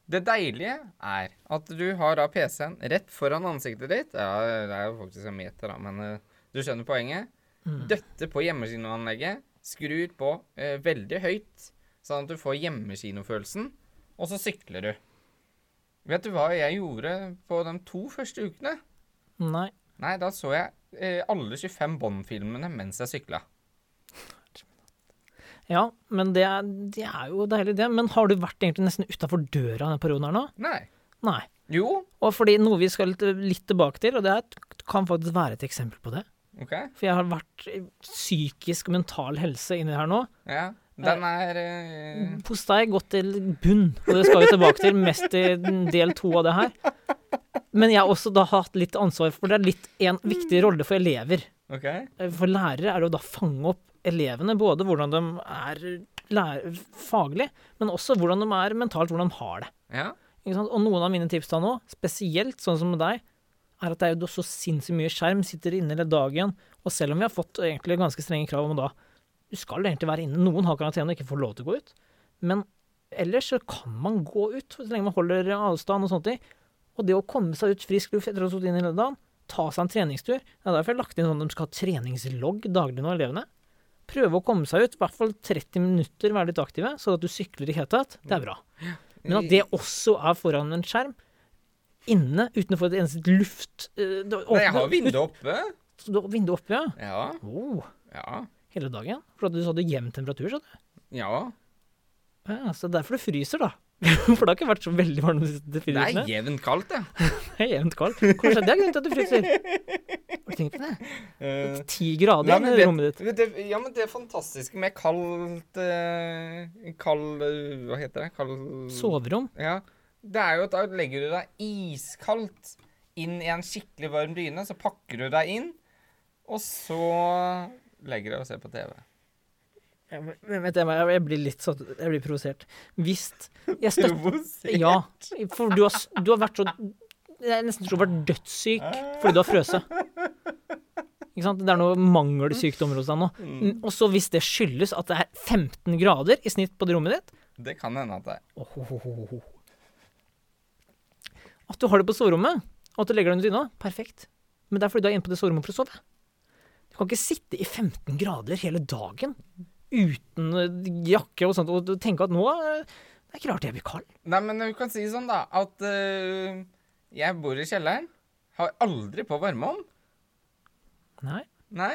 Speaker 2: Det deilige er at du har da PC-en rett foran ansiktet ditt. Ja, det er jo faktisk en meter, da, men eh, du skjønner poenget.
Speaker 1: Mm.
Speaker 2: Døtte på hjemmekinoanlegget, skrur på eh, veldig høyt, sånn at du får hjemmekinofølelsen, og så sykler du. Vet du hva jeg gjorde på de to første ukene?
Speaker 1: Nei.
Speaker 2: Nei, da så jeg eh, alle 25 Bond-filmene mens jeg sykla.
Speaker 1: Ja, men det er, det er jo deilig, det. Men har du vært egentlig nesten utafor døra den perioden her nå?
Speaker 2: Nei.
Speaker 1: Nei.
Speaker 2: Jo.
Speaker 1: Og fordi noe vi skal litt, litt tilbake til, og det er, kan faktisk være et eksempel på det.
Speaker 2: OK.
Speaker 1: For jeg har vært i psykisk og mental helse inni her nå.
Speaker 2: Ja. Den er eh,
Speaker 1: Postei gått til bunn, og det skal vi tilbake til mest i del to av det her. Men jeg har også da hatt litt ansvar, for det er litt en viktig rolle for elever.
Speaker 2: OK.
Speaker 1: For lærere er det å da fange opp elevene, både hvordan de er lærer, faglig, men også hvordan de er mentalt, hvordan de har det.
Speaker 2: Ja.
Speaker 1: Ikke sant? Og noen av mine tips da nå, spesielt sånn som med deg, er at det er jo så sinnssykt mye skjerm, sitter inne hele dagen, og selv om vi har fått egentlig ganske strenge krav om da, du skal egentlig være inne, noen har karantene og ikke får lov til å gå ut, men ellers så kan man gå ut, så lenge man holder avstand og sånt, og det å komme seg ut frisk luft etter å ha sittet inne hele dagen, ta seg en treningstur, det er derfor jeg har lagt inn sånn at de skal ha treningslogg daglig nå, elevene, prøve å komme seg ut, i hvert fall 30 minutter, være litt aktive, så at du sykler i hetatt, det er bra. Men at det også er foran en skjerm, inne, uten å få et eneste luft eh, det
Speaker 2: Nei, jeg har
Speaker 1: åpner-
Speaker 2: vinduet oppe.
Speaker 1: ut- du har Vinduet oppe, ja.
Speaker 2: Ja.
Speaker 1: Oh,
Speaker 2: Ja.
Speaker 1: hele dagen. For at du hadde jevn temperatur, sa du.
Speaker 2: Ja.
Speaker 1: Ja, så det er derfor du fryser, da. For det har ikke vært så veldig varmt de siste
Speaker 2: Det
Speaker 1: fire
Speaker 2: er
Speaker 1: ukene.
Speaker 2: jevnt kaldt, ja.
Speaker 1: Det er jevnt kaldt. Kanskje det er grunnen til at du fryser. Har du tenkt på det?
Speaker 2: Eh,
Speaker 1: Ti grader
Speaker 2: ja,
Speaker 1: i
Speaker 2: men vet-
Speaker 1: rommet ditt.
Speaker 2: vet du- ja, men det fantastiske med kaldt eh, Kald eh, Hva heter det? Kald
Speaker 1: Soverom.
Speaker 2: Ja. Det er jo at da legger du deg iskaldt inn i en skikkelig varm dyne, så pakker du deg inn, og så legger du deg og ser på TV.
Speaker 1: Ja, men- men Vet jeg, hva, jeg blir litt sånn Jeg blir provosert. Hvis jeg støtter
Speaker 2: Provosert.
Speaker 1: Ja, for du har, s- du har vært så Jeg er nesten tror du har vært dødssyk fordi du har frøset. Ikke sant? Det er noe mangelsykdommer hos deg nå. Og så hvis det skyldes at det er 15 grader i snitt på det rommet ditt
Speaker 2: Det kan hende at det er.
Speaker 1: Åh, ho, ho, ho, ho. At du har det på soverommet, og at du legger deg under dyna, perfekt. Men det er fordi du er inne på det soverommet for å sove. Du kan ikke sitte i 15 grader hele dagen uten eh, jakke og sånt og tenke at nå eh, Det er ikke rart jeg blir kald.
Speaker 2: Nei, men du kan si sånn, da, at øh, jeg bor i kjelleren. Har aldri på varmeovn.
Speaker 1: Nei.
Speaker 2: Nei.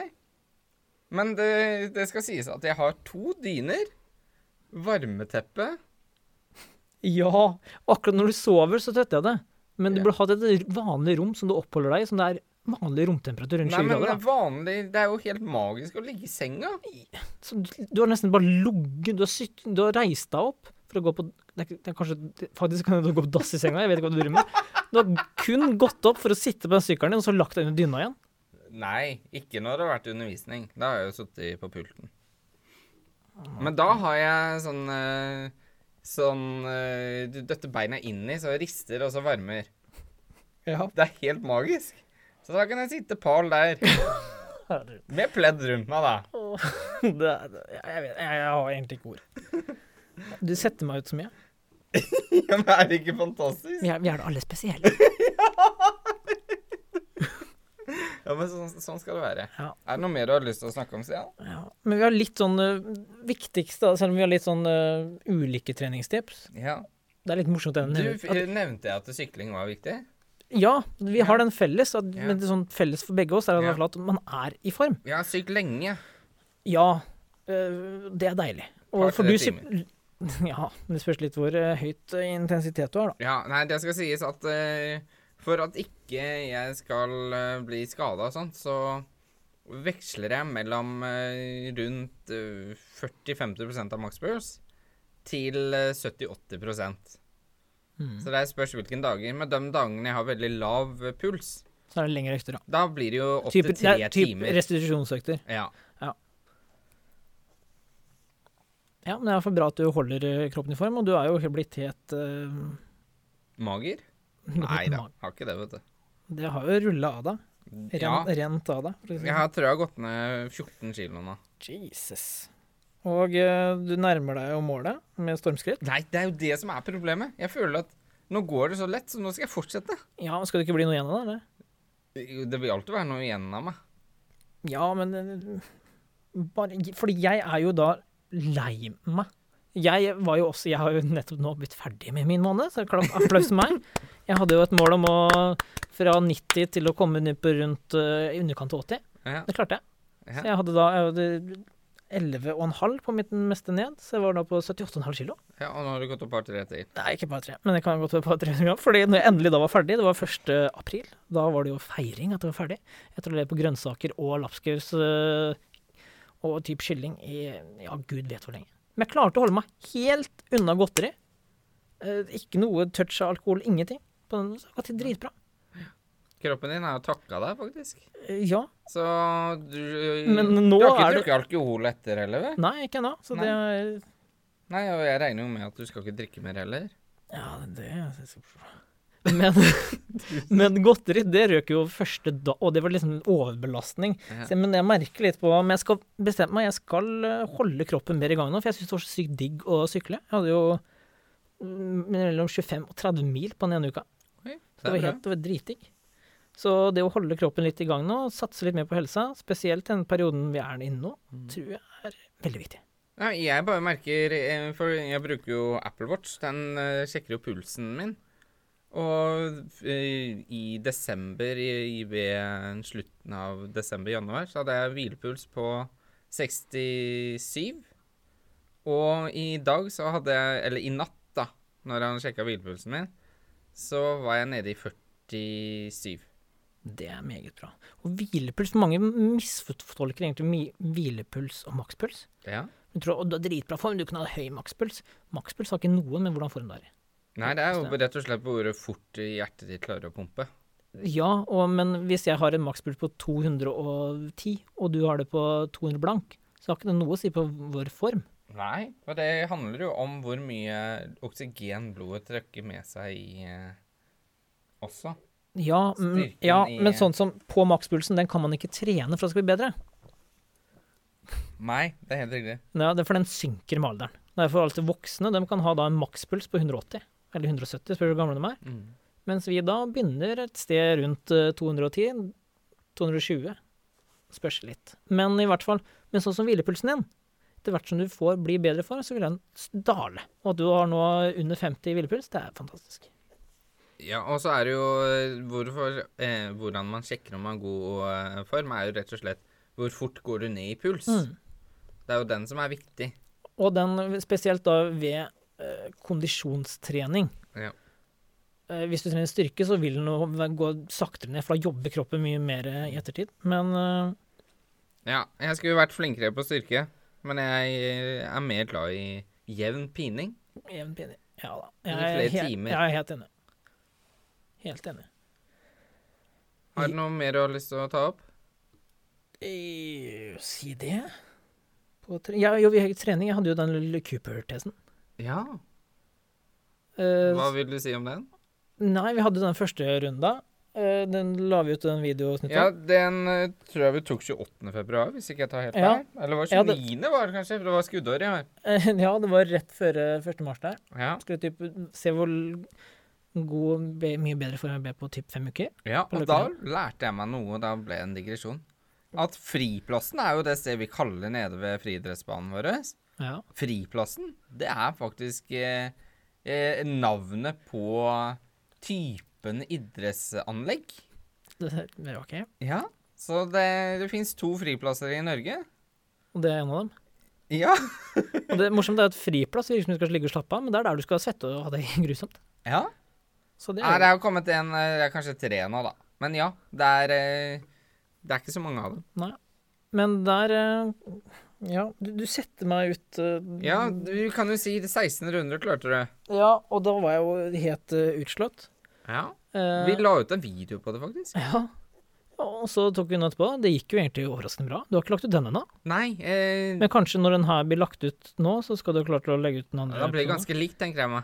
Speaker 2: Men det, det skal sies at jeg har to dyner, varmeteppe
Speaker 1: Ja, akkurat når du sover, så støtter jeg det. Men du
Speaker 2: Ja.
Speaker 1: burde hatt et vanlig rom som du oppholder deg i, som det er vanlig romtemperatur rundt
Speaker 2: Nei,
Speaker 1: 20
Speaker 2: men det
Speaker 1: grader.
Speaker 2: er vanlig Det er jo helt magisk å ligge i senga.
Speaker 1: Da. Så du, du har nesten bare ligget, du, har sytt- du har reist deg opp for å gå på det er, ikke- det er kanskje, det- Faktisk kan du gå på dass i senga, jeg vet ikke hva du driver med. Du har kun gått opp for å sitte på den sykkelen din, og så lagt deg under dyna igjen.
Speaker 2: Nei, ikke når det har vært undervisning. Da har jeg jo sittet på pulten. Men da har jeg sånn eh, Sånn eh, Du døtter beina inni, så jeg rister, og så varmer. Det er helt magisk. Så da kan jeg sitte pal der,
Speaker 1: Herregud.
Speaker 2: med pledd rundt meg, da.
Speaker 1: Det er, jeg, vet, jeg, jeg har egentlig ikke ord. Du setter meg ut som jeg.
Speaker 2: Ja, men er det ikke fantastisk?
Speaker 1: Vi er, vi er da alle spesielle.
Speaker 2: Ja, men sånn, sånn skal det være.
Speaker 1: Ja.
Speaker 2: Er det noe mer du har lyst til å snakke om, Stian?
Speaker 1: Ja. Men vi har litt sånn eh, viktigste, da, selv om vi har litt sånn eh, ulike treningstips.
Speaker 2: Ja.
Speaker 1: Det er litt morsomt. Den,
Speaker 2: Du,
Speaker 1: nevner-
Speaker 2: f-
Speaker 1: at,
Speaker 2: nevnte jeg at sykling var viktig?
Speaker 1: ja, vi har den felles. At,
Speaker 2: Ja.
Speaker 1: Men det er sånn felles for begge oss er at,
Speaker 2: Ja.
Speaker 1: i hvert fall at man er i form.
Speaker 2: Jeg har sykt lenge.
Speaker 1: Ja, øh, det er deilig.
Speaker 2: Par,
Speaker 1: Og for
Speaker 2: tre
Speaker 1: du sier Ja, men det spørs litt hvor øh, høyt øh, intensitet du har, da.
Speaker 2: Ja, nei, det skal sies at eh, for at ikke jeg skal eh, bli skada og sånt, så veksler jeg mellom eh, rundt eh, 40-50 av makspuls til eh, 70-80
Speaker 1: Hmm.
Speaker 2: Så det spørs hvilken dager. Men de dagene jeg har veldig lav eh, puls,
Speaker 1: Så er det lengre økter, da.
Speaker 2: da blir det jo opp
Speaker 1: Type,
Speaker 2: til tre
Speaker 1: det er typ
Speaker 2: timer.
Speaker 1: restitusjonsøkter.
Speaker 2: Ja.
Speaker 1: Ja, men det er i hvert fall bra at du holder øh, kroppen i form, og du er jo helt blitt helt øh,
Speaker 2: Mager?
Speaker 1: blitt
Speaker 2: Nei da,
Speaker 1: mag-
Speaker 2: har ikke det, vet du.
Speaker 1: Det har jo rulla av deg. Ren,
Speaker 2: Ja,
Speaker 1: Rent av deg. for å si det
Speaker 2: jeg har- tror jeg har gått ned 14 kilo nå.
Speaker 1: sånn. Jesus. Og øh, du nærmer deg jo målet med stormskritt.
Speaker 2: Nei, det er jo det som er problemet. Jeg føler at nå går det så lett, så nå skal jeg fortsette.
Speaker 1: Ja, skal det ikke bli noe igjen av det? eller?
Speaker 2: Jo, Det vil alltid være noe igjen av meg.
Speaker 1: Ja, men eh, bare, Fordi jeg er jo da lei meg. Jeg var jo også Jeg har jo nettopp nå blitt ferdig med min måned, så klapp applaus til meg. Jeg hadde jo et mål om å fra 90 til å komme ned på rundt eh, i underkant av 80.
Speaker 2: Ja.
Speaker 1: Det klarte jeg.
Speaker 2: Ja.
Speaker 1: Så jeg hadde da jeg hadde 11,5 på mitt meste ned, så jeg var da på 78,5 kilo.
Speaker 2: ja, Og nå har du gått opp par tre til.
Speaker 1: Nei, ikke bare tre, men det kan godt være bare tre hundre gram. Fordi når jeg endelig da var ferdig, det var 1. april, da var det jo feiring at det var ferdig. Jeg tror det er på grønnsaker og lapskaus øh, og typ kylling i ja, gud vet hvor lenge. Men jeg klarte å holde meg helt unna godteri. Eh, Ikke noe touch av alkohol, ingenting. På den, så det var til dritbra.
Speaker 2: Kroppen din har jo takka deg, faktisk.
Speaker 1: Eh, Ja.
Speaker 2: Så du
Speaker 1: Men nå
Speaker 2: Du har ikke
Speaker 1: er det-
Speaker 2: drukket alkohol etter heller, vel?
Speaker 1: Nei, ikke ennå. Så det er
Speaker 2: Nei, og jeg regner jo med at du skal ikke drikke mer heller.
Speaker 1: Ja, det men, men godteri, det røk jo første da, og det var liksom en overbelastning.
Speaker 2: Ja.
Speaker 1: Så, men jeg merker litt på Men jeg skal bestemme meg, jeg skal eh, holde kroppen mer i gang nå, for jeg syns det var så sykt digg å sykle. Jeg hadde jo mm, mellom 25 og 30 mil på den ene uka.
Speaker 2: Oi,
Speaker 1: Det
Speaker 2: det er
Speaker 1: var
Speaker 2: bra.
Speaker 1: helt det var dritdigg. Så det å holde kroppen litt i gang nå, satse litt mer på helsa, spesielt den perioden vi er inne nå,
Speaker 2: Mm.
Speaker 1: tror jeg er veldig viktig.
Speaker 2: Nei, jeg bare merker eh, For jeg bruker jo Apple Watch. Den eh, sjekker jo pulsen min. Og eh, i desember, i, i ved slutten av desember-januar, så hadde jeg hvilepuls på 67. Og i dag så hadde jeg Eller i natt, da, når han sjekka hvilepulsen min, så var jeg nede i 47.
Speaker 1: Det er meget bra. Og hvilepuls Mange misfortolker egentlig mi- hvilepuls og makspuls.
Speaker 2: Ja.
Speaker 1: Du tror «Å, du har dritbra form, du kan ha høy makspuls. Makspuls har ikke noe med hvordan form du er i.
Speaker 2: Nei, det er jo rett og slett på ordet fort hjertet ditt klarer å pumpe.
Speaker 1: Ja, og, men hvis jeg har en makspuls på 210, og du har det på 200 blank, så har ikke det noe å si på vår form.
Speaker 2: Nei, og det handler jo om hvor mye oksygen blodet trekker med seg i eh, også.
Speaker 1: Ja, men,
Speaker 2: Styrken
Speaker 1: ja,
Speaker 2: i-
Speaker 1: men sånn som på makspulsen, den kan man ikke trene for å skal bli bedre.
Speaker 2: Nei, det er helt riktig.
Speaker 1: Ja, det er for den synker med alderen. Derfor altså voksne de kan ha da en makspuls på 180, eller 170, spør du hvor gamle de er.
Speaker 2: Mm.
Speaker 1: Mens vi da begynner et sted rundt eh, 210, 220. Spørs litt. Men i hvert fall, men sånn som hvilepulsen din, etter hvert som du får bli bedre for, så vil den s- dale. Og at du har nå under 50 i hvilepuls, det er fantastisk.
Speaker 2: Ja, og så er det jo eh, hvorfor, eh, hvordan man sjekker om man har god eh, form, er jo rett og slett hvor fort går du ned i puls.
Speaker 1: Mm.
Speaker 2: Det er jo den som er viktig.
Speaker 1: Og den spesielt da ved eh, kondisjonstrening.
Speaker 2: Ja.
Speaker 1: Eh, hvis du trener styrke, så vil den jo gå saktere ned, for da jobber kroppen mye mer eh, i ettertid. Men eh,
Speaker 2: Ja, jeg skulle vært flinkere på styrke, men jeg eh, er mer glad i jevn pining.
Speaker 1: Jevn pinlig. Ja da.
Speaker 2: I
Speaker 1: Jeg er,
Speaker 2: flere
Speaker 1: he-
Speaker 2: timer.
Speaker 1: jeg er helt enig. Helt enig.
Speaker 2: Har du noe mer du har lyst til å ta opp?
Speaker 1: Eh, Si det. På tre ja, jo, vi har trening. Jeg hadde jo den lille Cooper-tesen.
Speaker 2: Ja.
Speaker 1: Eh,
Speaker 2: Hva vil du si om den?
Speaker 1: nei, vi hadde den første runda. Eh, den la vi ut den videosnuttet.
Speaker 2: Ja, den eh, tror jeg vi tok 28. februar, hvis ikke jeg tar helt
Speaker 1: Ja.
Speaker 2: feil. Eller var det
Speaker 1: Ja, det-
Speaker 2: 29. var det kanskje, for det var skuddår i år.
Speaker 1: Eh, ja, det var rett før eh, 1. mars der.
Speaker 2: Ja.
Speaker 1: Skulle typ se hvor l- god, be, mye bedre form jeg ble på typ fem uker.
Speaker 2: ja,
Speaker 1: På
Speaker 2: og da
Speaker 1: Løkkeberg.
Speaker 2: lærte jeg meg noe, da ble det en digresjon. At friplassen er jo det stedet vi kaller nede ved friidrettsbanen vår.
Speaker 1: Ja.
Speaker 2: Friplassen, det er faktisk eh, eh, navnet på typen idrettsanlegg.
Speaker 1: Det, det var ok.
Speaker 2: Ja. Så det, det fins to friplasser i Norge.
Speaker 1: Og det er en av dem.
Speaker 2: Ja.
Speaker 1: Og det morsomt er at friplass virker som du skal ligge og slappe av, men det er der du skal svette og ha det grusomt.
Speaker 2: ja.
Speaker 1: Så det
Speaker 2: Nei,
Speaker 1: er,
Speaker 2: det er jo kommet en eh, Det er kanskje tre nå, da. Men ja, det er eh, Det er ikke så mange av dem.
Speaker 1: Nei. Men der eh, Ja, du, du setter meg ut eh,
Speaker 2: Ja, du kan jo si det 16 runder klarte du.
Speaker 1: ja, og da var jeg jo helt eh, utslått.
Speaker 2: Ja.
Speaker 1: Eh,
Speaker 2: Vi la ut en video på det, faktisk.
Speaker 1: ja. Og så tok vi den etterpå. Det gikk jo egentlig overraskende bra. Du har ikke lagt ut den ennå.
Speaker 2: Nei, eh,
Speaker 1: Men kanskje når den her blir lagt ut nå, så skal du ha klart å legge ut den andre.
Speaker 2: da blir det
Speaker 1: episoden.
Speaker 2: ganske likt, tenker jeg meg.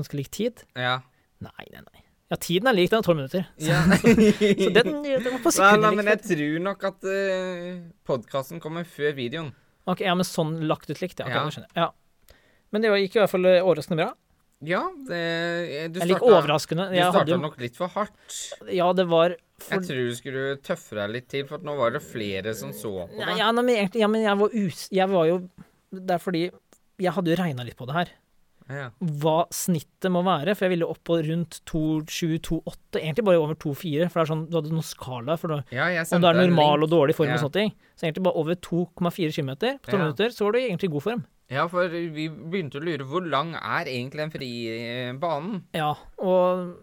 Speaker 1: ganske lik tid.
Speaker 2: Ja.
Speaker 1: Nei, nei, nei. Ja, tiden er lik, den er tolv minutter.
Speaker 2: ja.
Speaker 1: Så den, den var på
Speaker 2: Nei, nei,
Speaker 1: sekundet lik.
Speaker 2: men jeg
Speaker 1: faktisk.
Speaker 2: tror nok at eh, podkasten kommer før videoen.
Speaker 1: Ok, ja, men sånn lagt ut likt, ja. ok,
Speaker 2: Ja.
Speaker 1: det skjønner jeg. Ja. Men det gikk i hvert fall eh, overraskende bra.
Speaker 2: Ja, det eh, Du
Speaker 1: Jeg liker
Speaker 2: starta,
Speaker 1: overraskende.
Speaker 2: du
Speaker 1: Jeg
Speaker 2: starta
Speaker 1: hadde,
Speaker 2: nok litt for hardt.
Speaker 1: ja, det var
Speaker 2: Jeg
Speaker 1: for
Speaker 2: tror du skulle tøffe deg litt til, for at nå var det flere som så på
Speaker 1: Nei,
Speaker 2: deg.
Speaker 1: ja, nei, men egentlig, ja, men jeg var us... Jeg var jo Det er fordi jeg hadde jo regna litt på det her.
Speaker 2: Ja.
Speaker 1: Hva snittet må være, for jeg ville opp på rundt 2,7-2,8. Egentlig bare over 2,4, for det er sånn, du hadde noen skala for det,
Speaker 2: ja, jeg
Speaker 1: om du
Speaker 2: sendte
Speaker 1: er
Speaker 2: deg en
Speaker 1: normal
Speaker 2: link.
Speaker 1: og dårlig form
Speaker 2: Ja.
Speaker 1: og sånne ting. Så egentlig bare over 2,4 km på 12
Speaker 2: Ja.
Speaker 1: minutter, så var du egentlig i god form.
Speaker 2: Ja, for vi begynte å lure hvor lang er egentlig den frie banen?
Speaker 1: Ja, og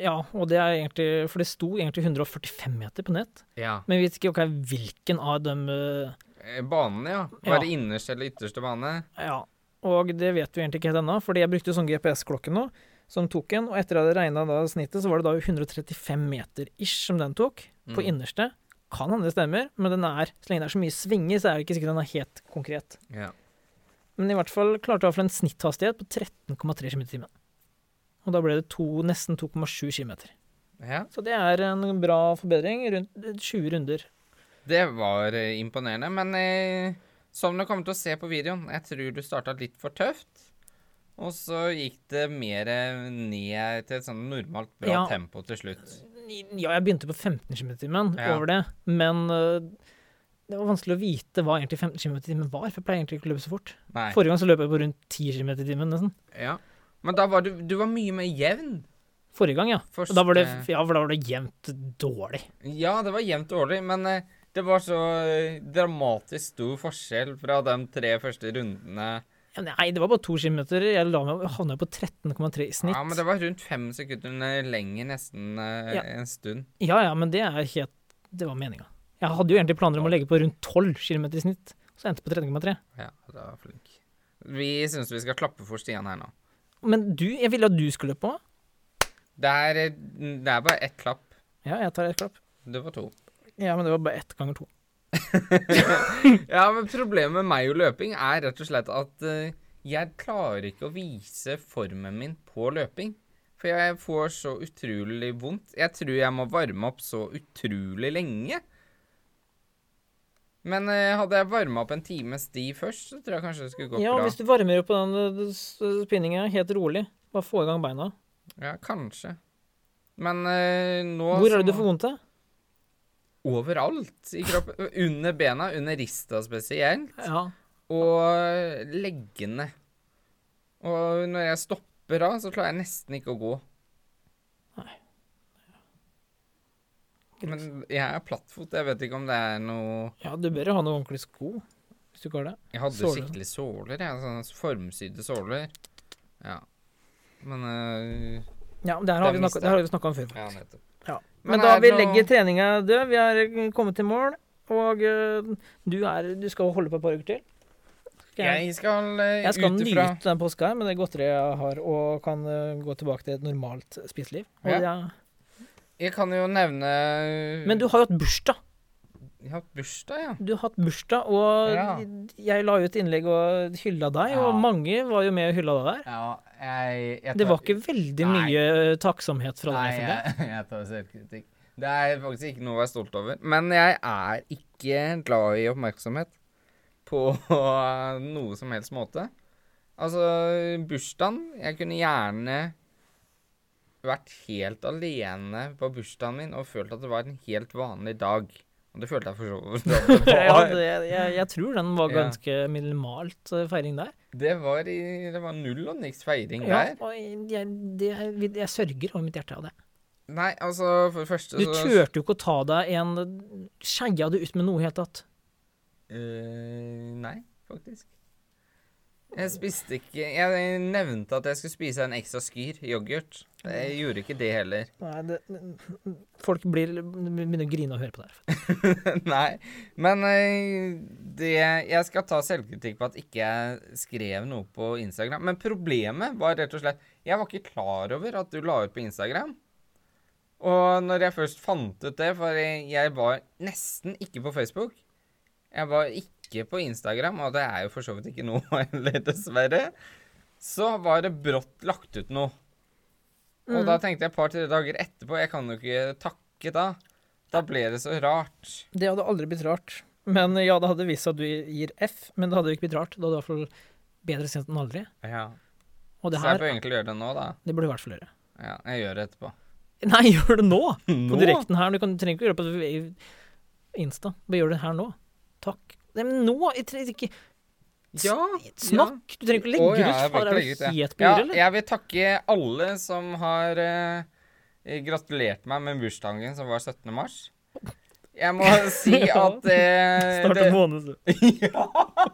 Speaker 1: ja, og det er egentlig For det sto egentlig 145 meter på nett,
Speaker 2: Ja.
Speaker 1: men vi vet ikke ok, hvilken av dem eh,
Speaker 2: Banene, ja.
Speaker 1: Ja.
Speaker 2: Var det innerste eller ytterste bane?
Speaker 1: Ja, og det vet vi egentlig ikke helt ennå, fordi jeg brukte jo sånn GPS-klokke nå, som tok en, og etter at jeg regna da snittet, så var det da 135 meter ish som den tok, på
Speaker 2: Mm.
Speaker 1: innerste. Kan hende det stemmer, men den er, så lenge det er så mye svinger, så er det ikke sikkert den er helt konkret.
Speaker 2: Ja.
Speaker 1: Men i hvert fall klarte jeg å få en snitthastighet på 13,3 km i timen. Og da ble det to, nesten 2,7 km.
Speaker 2: ja.
Speaker 1: Så det er en bra forbedring. Rundt 20 runder.
Speaker 2: Det var eh, imponerende, men eh, som du kommer til å se på videoen, jeg tror du starta litt for tøft. Og så gikk det mer eh, ned til et sånn normalt bra
Speaker 1: Ja.
Speaker 2: tempo til slutt.
Speaker 1: Ja, jeg begynte på 15 km i timen
Speaker 2: Ja.
Speaker 1: over det, men øh, det var vanskelig å vite hva egentlig 15 km i timen var, for jeg pleier egentlig ikke å løpe så fort.
Speaker 2: Nei.
Speaker 1: Forrige gang så løp jeg på rundt 10 km i timen, nesten.
Speaker 2: Ja. Men da var du, du var mye mer jevn.
Speaker 1: Forrige gang, ja. Og
Speaker 2: Første-
Speaker 1: Da var det, ja, for da var det jevnt dårlig.
Speaker 2: Ja, det var jevnt dårlig, men eh, det var så eh, dramatisk stor forskjell fra de tre første rundene.
Speaker 1: Ja, Nei, det var bare 2 km. Jeg la meg, havna jo på 13,3 i snitt.
Speaker 2: Ja, men det var rundt fem sekunder lenger nesten eh,
Speaker 1: Ja.
Speaker 2: en stund.
Speaker 1: Ja, ja, men det er helt Det var meninga. Jeg hadde jo egentlig planer om å legge på rundt 12 km i snitt, så endte jeg på 13,3.
Speaker 2: Ja, det var flink. Vi syns vi skal klappe for Stian her nå.
Speaker 1: Men du, jeg ville at du skulle på.
Speaker 2: Det er, eh, det er bare ett klapp.
Speaker 1: Ja, jeg tar et klapp.
Speaker 2: Det var to.
Speaker 1: Ja, men det var bare ett ganger to.
Speaker 2: Ja, men problemet med meg og løping er rett og slett at eh, jeg klarer ikke å vise formen min på løping. For jeg får så utrolig vondt. Jeg tror jeg må varme opp så utrolig lenge. Men eh, hadde jeg varma opp en times sti først, så tror jeg kanskje det skulle gått
Speaker 1: Ja,
Speaker 2: bra.
Speaker 1: hvis du varmer opp på den eh, s- spinninga helt rolig, bare få i gang beina.
Speaker 2: Ja, kanskje. Men eh, nå
Speaker 1: Hvor er
Speaker 2: så
Speaker 1: det du
Speaker 2: må-
Speaker 1: får vondt av?
Speaker 2: Overalt i kroppen. Under bena, under rista spesielt.
Speaker 1: Ja.
Speaker 2: og leggene. Og når jeg stopper av, så klarer jeg nesten ikke å gå.
Speaker 1: Nei.
Speaker 2: Men jeg er plattfot. Jeg vet ikke om det er noe
Speaker 1: ja, du bør jo ha noen ordentlige sko, hvis du ikke har det.
Speaker 2: Jeg hadde
Speaker 1: Såler.
Speaker 2: skikkelig såler, jeg. Sånne formsydde såler. Ja. Men øh,
Speaker 1: Ja, men det her har
Speaker 2: Det
Speaker 1: vi
Speaker 2: miste
Speaker 1: snakka- det her har vi snakka om før.
Speaker 2: Ja, nettopp.
Speaker 1: Ja.
Speaker 2: Men
Speaker 1: Men, da
Speaker 2: er
Speaker 1: vi
Speaker 2: det noe-
Speaker 1: legger treninga død, vi har eh, kommet til mål, og eh, du, er, du skal holde på et par uker til. Skal jeg-
Speaker 2: Jeg skal øh,
Speaker 1: Jeg skal
Speaker 2: ut ifra
Speaker 1: nyte den påska her med det godteriet jeg har, og kan eh, gå tilbake til et normalt spiseliv. Og
Speaker 2: Ja.
Speaker 1: jeg-
Speaker 2: Jeg kan jo nevne øh,
Speaker 1: Men du har jo hatt bursdag.
Speaker 2: Jeg har hatt bursdag, ja.
Speaker 1: Du har hatt bursdag, og
Speaker 2: Ja.
Speaker 1: jeg la ut innlegg og hylla deg, og
Speaker 2: Ja.
Speaker 1: mange var jo med og hylla deg der.
Speaker 2: Ja, jeg, jeg
Speaker 1: Det var ikke veldig
Speaker 2: Nei.
Speaker 1: mye eh, takksomhet fra deg for det.
Speaker 2: jeg, jeg tar selvkritikk. Det er faktisk ikke noe å være stolt over. Men jeg er ikke glad i oppmerksomhet på noe som helst måte. Altså, bursdagen Jeg kunne gjerne vært helt alene på bursdagen min og følt at det var en helt vanlig dag. Og det følte jeg for så vidt. at det
Speaker 1: Ja,
Speaker 2: var.
Speaker 1: det jeg, jeg tror den var
Speaker 2: Ja.
Speaker 1: ganske minimalt eh, feiring der.
Speaker 2: Det var, i, det var null og niks feiring
Speaker 1: Ja,
Speaker 2: der.
Speaker 1: og jeg, det, jeg, jeg sørger over mitt hjerte av det.
Speaker 2: Nei, altså, for det første
Speaker 1: Du turte jo ikke å ta deg en Skeia det ut med noe i det hele tatt.
Speaker 2: Eh, nei, faktisk. Jeg spiste ikke Jeg nevnte at jeg skulle spise en ekstra skyr yoghurt. Jeg gjorde ikke det heller.
Speaker 1: Nei, det, folk blir, begynner å grine og høre på det her.
Speaker 2: nei. Men eh, det Jeg skal ta selvkritikk på at ikke jeg skrev noe på Instagram. Men problemet var rett og slett Jeg var ikke klar over at du la ut på Instagram. Og når jeg først fant ut det, for jeg jeg var nesten ikke på Facebook Jeg var ikke på Instagram, og det er jo for så vidt ikke nå heller, dessverre. Så var det brått lagt ut noe. Og da tenkte jeg et par-tre dager etterpå Jeg kan jo ikke takke da. Da ble det så rart.
Speaker 1: Det hadde aldri blitt rart. Men ja, det hadde vist seg at du gir F, men det hadde jo ikke blitt rart. Det hadde i hvert fall bedre sent enn aldri.
Speaker 2: Ja.
Speaker 1: Og det
Speaker 2: så jeg
Speaker 1: her,
Speaker 2: bør egentlig gjøre det nå, da.
Speaker 1: det burde vært flere.
Speaker 2: Ja, jeg gjør det etterpå.
Speaker 1: Nei, gjør det nå! På
Speaker 2: Nå?
Speaker 1: direkten her. Du, kan, du trenger ikke gjøre det på Insta. Bare gjør det her nå. Takk. Nei, men nå! Jeg trenger ikke
Speaker 2: Ja.
Speaker 1: Snakk! Du trenger ikke å
Speaker 2: Å,
Speaker 1: legge
Speaker 2: ja,
Speaker 1: det ut.
Speaker 2: jeg
Speaker 1: Faen,
Speaker 2: bare
Speaker 1: er
Speaker 2: legger ut,
Speaker 1: du
Speaker 2: ja.
Speaker 1: helt på
Speaker 2: Ja,
Speaker 1: jordet, eller?
Speaker 2: jeg vil takke alle som har eh, gratulert meg med bursdagen som var 17. mars. Jeg må si
Speaker 1: Ja.
Speaker 2: at eh,
Speaker 1: Snart
Speaker 2: det,
Speaker 1: en måned, du.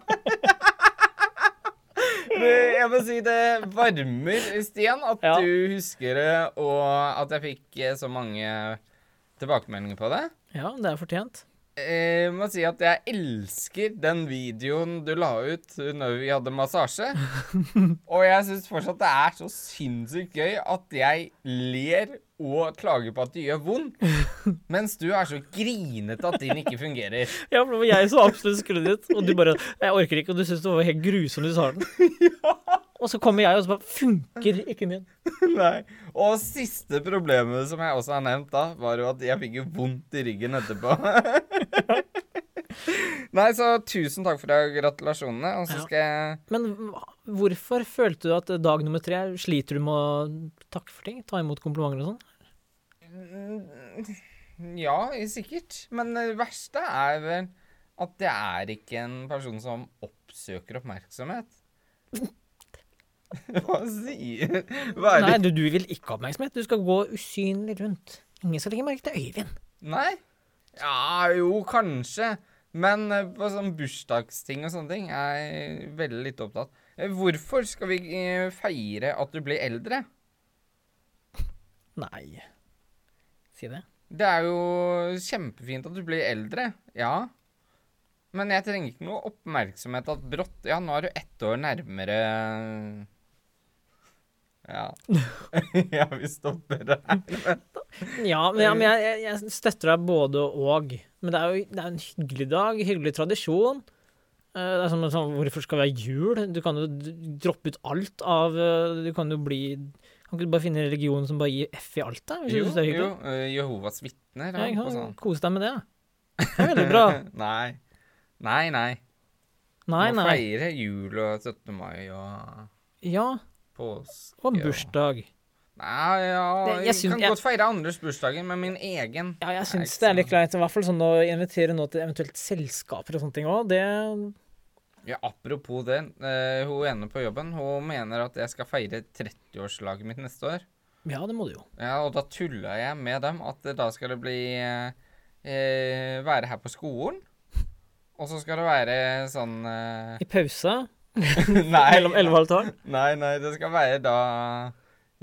Speaker 2: det, Jeg må si det varmer, Stian, at
Speaker 1: Ja.
Speaker 2: du husker det, og at jeg fikk eh, så mange tilbakemeldinger på det.
Speaker 1: Ja, det er fortjent.
Speaker 2: Jeg Eh, må si at jeg elsker den videoen du la ut når vi hadde massasje. Og jeg syns fortsatt det er så sinnssykt gøy at jeg ler og klager på at det gjør vondt, mens du er så grinete at din ikke fungerer.
Speaker 1: Ja, for det var jeg som absolutt skulle dit, og du bare 'Jeg orker ikke', og du syntes det var helt grusomt du sa den. Og så kommer jeg, og så bare 'Funker ikke min'.
Speaker 2: Nei. Og siste problemet som jeg også har nevnt da, var jo at jeg fikk jo vondt i ryggen etterpå. Nei, så tusen takk for deg, gratulasjonene, og så
Speaker 1: Ja.
Speaker 2: skal jeg
Speaker 1: Men hva- hvorfor følte du at dag nummer tre sliter du med å takke for ting? Ta imot komplimenter og sånn?
Speaker 2: Mm, Ja, sikkert. Men det verste er vel at det er ikke en person som oppsøker oppmerksomhet. Hva sier Hva er
Speaker 1: Nei,
Speaker 2: det?
Speaker 1: du, du vil ikke ha oppmerksomhet. Du skal gå usynlig rundt. Ingen skal legge merke til Øyvind.
Speaker 2: Nei? Ja, jo, kanskje. Men eh, på sånn bursdagsting og sånne ting er jeg veldig litt opptatt. Eh, Hvorfor skal vi eh, feire at du blir eldre?
Speaker 1: Nei. Si det.
Speaker 2: Det er jo kjempefint at du blir eldre, ja. Men jeg trenger ikke noe oppmerksomhet at brått Ja, nå er du ett år nærmere Ja. ja, vi stopper der.
Speaker 1: Ja, men, ja, men jeg, jeg, jeg støtter deg både og. Men det er jo det er en hyggelig dag, hyggelig tradisjon. Eh, Det er som, en sånn, Hvorfor skal vi ha jul? Du kan jo d- droppe ut alt av eh, Du kan jo bli Kan ikke du bare finne en religion som bare gir F i alt, da? Hvis
Speaker 2: Jo,
Speaker 1: du synes det er
Speaker 2: jo,
Speaker 1: hyggelig?
Speaker 2: eh, Jehovas vitner.
Speaker 1: ja,
Speaker 2: er
Speaker 1: ikke
Speaker 2: på
Speaker 1: sant?
Speaker 2: sånn.
Speaker 1: Kose deg med det. da. Det er veldig bra.
Speaker 2: Nei. Nei, nei.
Speaker 1: Nei,
Speaker 2: Må
Speaker 1: nei.
Speaker 2: feire jul og 17. mai og
Speaker 1: Ja,
Speaker 2: påske.
Speaker 1: og en bursdag.
Speaker 2: Nei, ja,
Speaker 1: Det- jeg
Speaker 2: jeg,
Speaker 1: syns-
Speaker 2: kan
Speaker 1: jeg-
Speaker 2: godt feire andres bursdager, men min egen
Speaker 1: Ja, jeg syns det
Speaker 2: ikke
Speaker 1: er
Speaker 2: sant.
Speaker 1: litt greit. I hvert fall sånn å invitere nå til eventuelt selskaper og sånne ting òg. Det
Speaker 2: Ja, apropos det. eh, hun ene på jobben hun mener at jeg skal feire 30-årslaget mitt neste år.
Speaker 1: Ja, det må du jo.
Speaker 2: Ja, Og da tulla jeg med dem at det- da skal det bli eh, eh, Være her på skolen. Og så skal det være sånn eh,
Speaker 1: I pausa
Speaker 2: Nei.
Speaker 1: mellom 11 og halv tolv.
Speaker 2: Nei, nei, det skal være da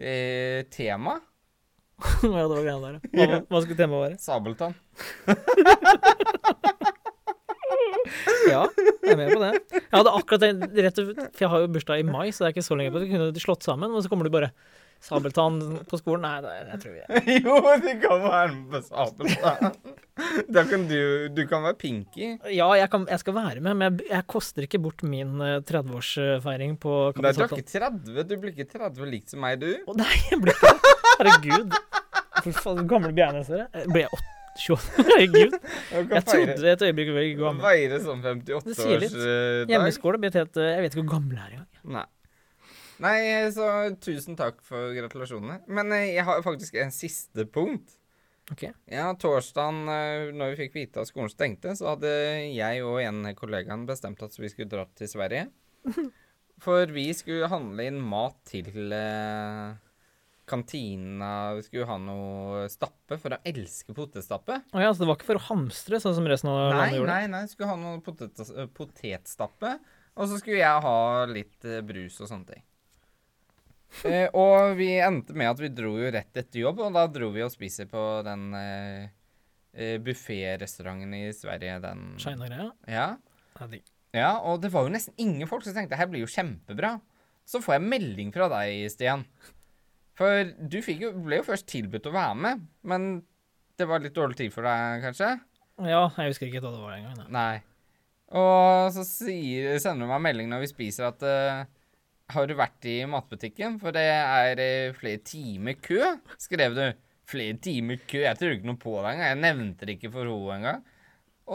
Speaker 2: eh, tema.
Speaker 1: ja, det var greia der. ja. Hva, hva skulle temaet være?
Speaker 2: Sabeltann.
Speaker 1: Ja, jeg er med på det. Jeg hadde akkurat tenkt rett og For jeg har jo bursdag i mai, så det er ikke så lenge på det. Vi kunne slått sammen, og så kommer du bare Sabeltann på skolen. Nei, det, jeg tror vi er
Speaker 2: jo, du kan være med på Sabeltann. da kan du Du kan være Pinky.
Speaker 1: Ja, jeg, kan, jeg skal være med, men jeg, jeg koster ikke bort min eh, 30-årsfeiring på
Speaker 2: Nei, du er
Speaker 1: Kapitalen.
Speaker 2: ikke 30. Du blir ikke 30 likt som meg, du.
Speaker 1: Å nei, jeg blir ikke det. Herregud. For faen, gamle bjernes dere. Eh, Ble jeg åt- 28? Herregud.
Speaker 2: Du kan
Speaker 1: Jeg trodde et øyeblikk hvor jeg var gammel.
Speaker 2: Veire sånn
Speaker 1: Det sier litt.
Speaker 2: 58-årsdag.
Speaker 1: Hjemmeskole blir helt eh, Jeg vet ikke hvor gammel jeg er engang.
Speaker 2: eh, Nei. Nei, så tusen takk for gratulasjonene. Men eh, jeg har faktisk en siste punkt.
Speaker 1: Ok.
Speaker 2: Ja, torsdagen eh, når vi fikk vite at skolen stengte, så hadde jeg og en av kollegaen bestemt at vi skulle dra til Sverige. For vi skulle handle inn mat til eh, kantina. Vi skulle ha noe stappe, for jeg elsker potetstappe.
Speaker 1: Å ja, så det var ikke for å hamstre, sånn som resten av landet
Speaker 2: Nei,
Speaker 1: gjorde?
Speaker 2: nei, nei, jeg skulle ha noe potet, eh, potetstappe, og så skulle jeg ha litt eh, brus og sånne ting. Eh, og vi endte med at vi dro jo rett etter jobb, og da dro vi og spiser på den eh, buffé-restauranten i Sverige, den...
Speaker 1: China-greia?
Speaker 2: Ja.
Speaker 1: Ja, digg.
Speaker 2: ja, og det var jo nesten ingen folk, så jeg tenkte, her blir jo kjempebra. Så får jeg melding fra deg, Stian. For du fikk jo, ble jo først tilbudt å være med, men det var litt dårlig tid for deg, kanskje?
Speaker 1: Ja, jeg husker ikke hva det var engang. nei.
Speaker 2: Nei. Og så sier, sender hun meg melding når vi spiser at eh, Har du vært i matbutikken? For det er eh, flere timer kø, skrev du. Flere timer kø? Jeg tror ikke noe på det engang. Jeg nevnte det ikke for henne engang.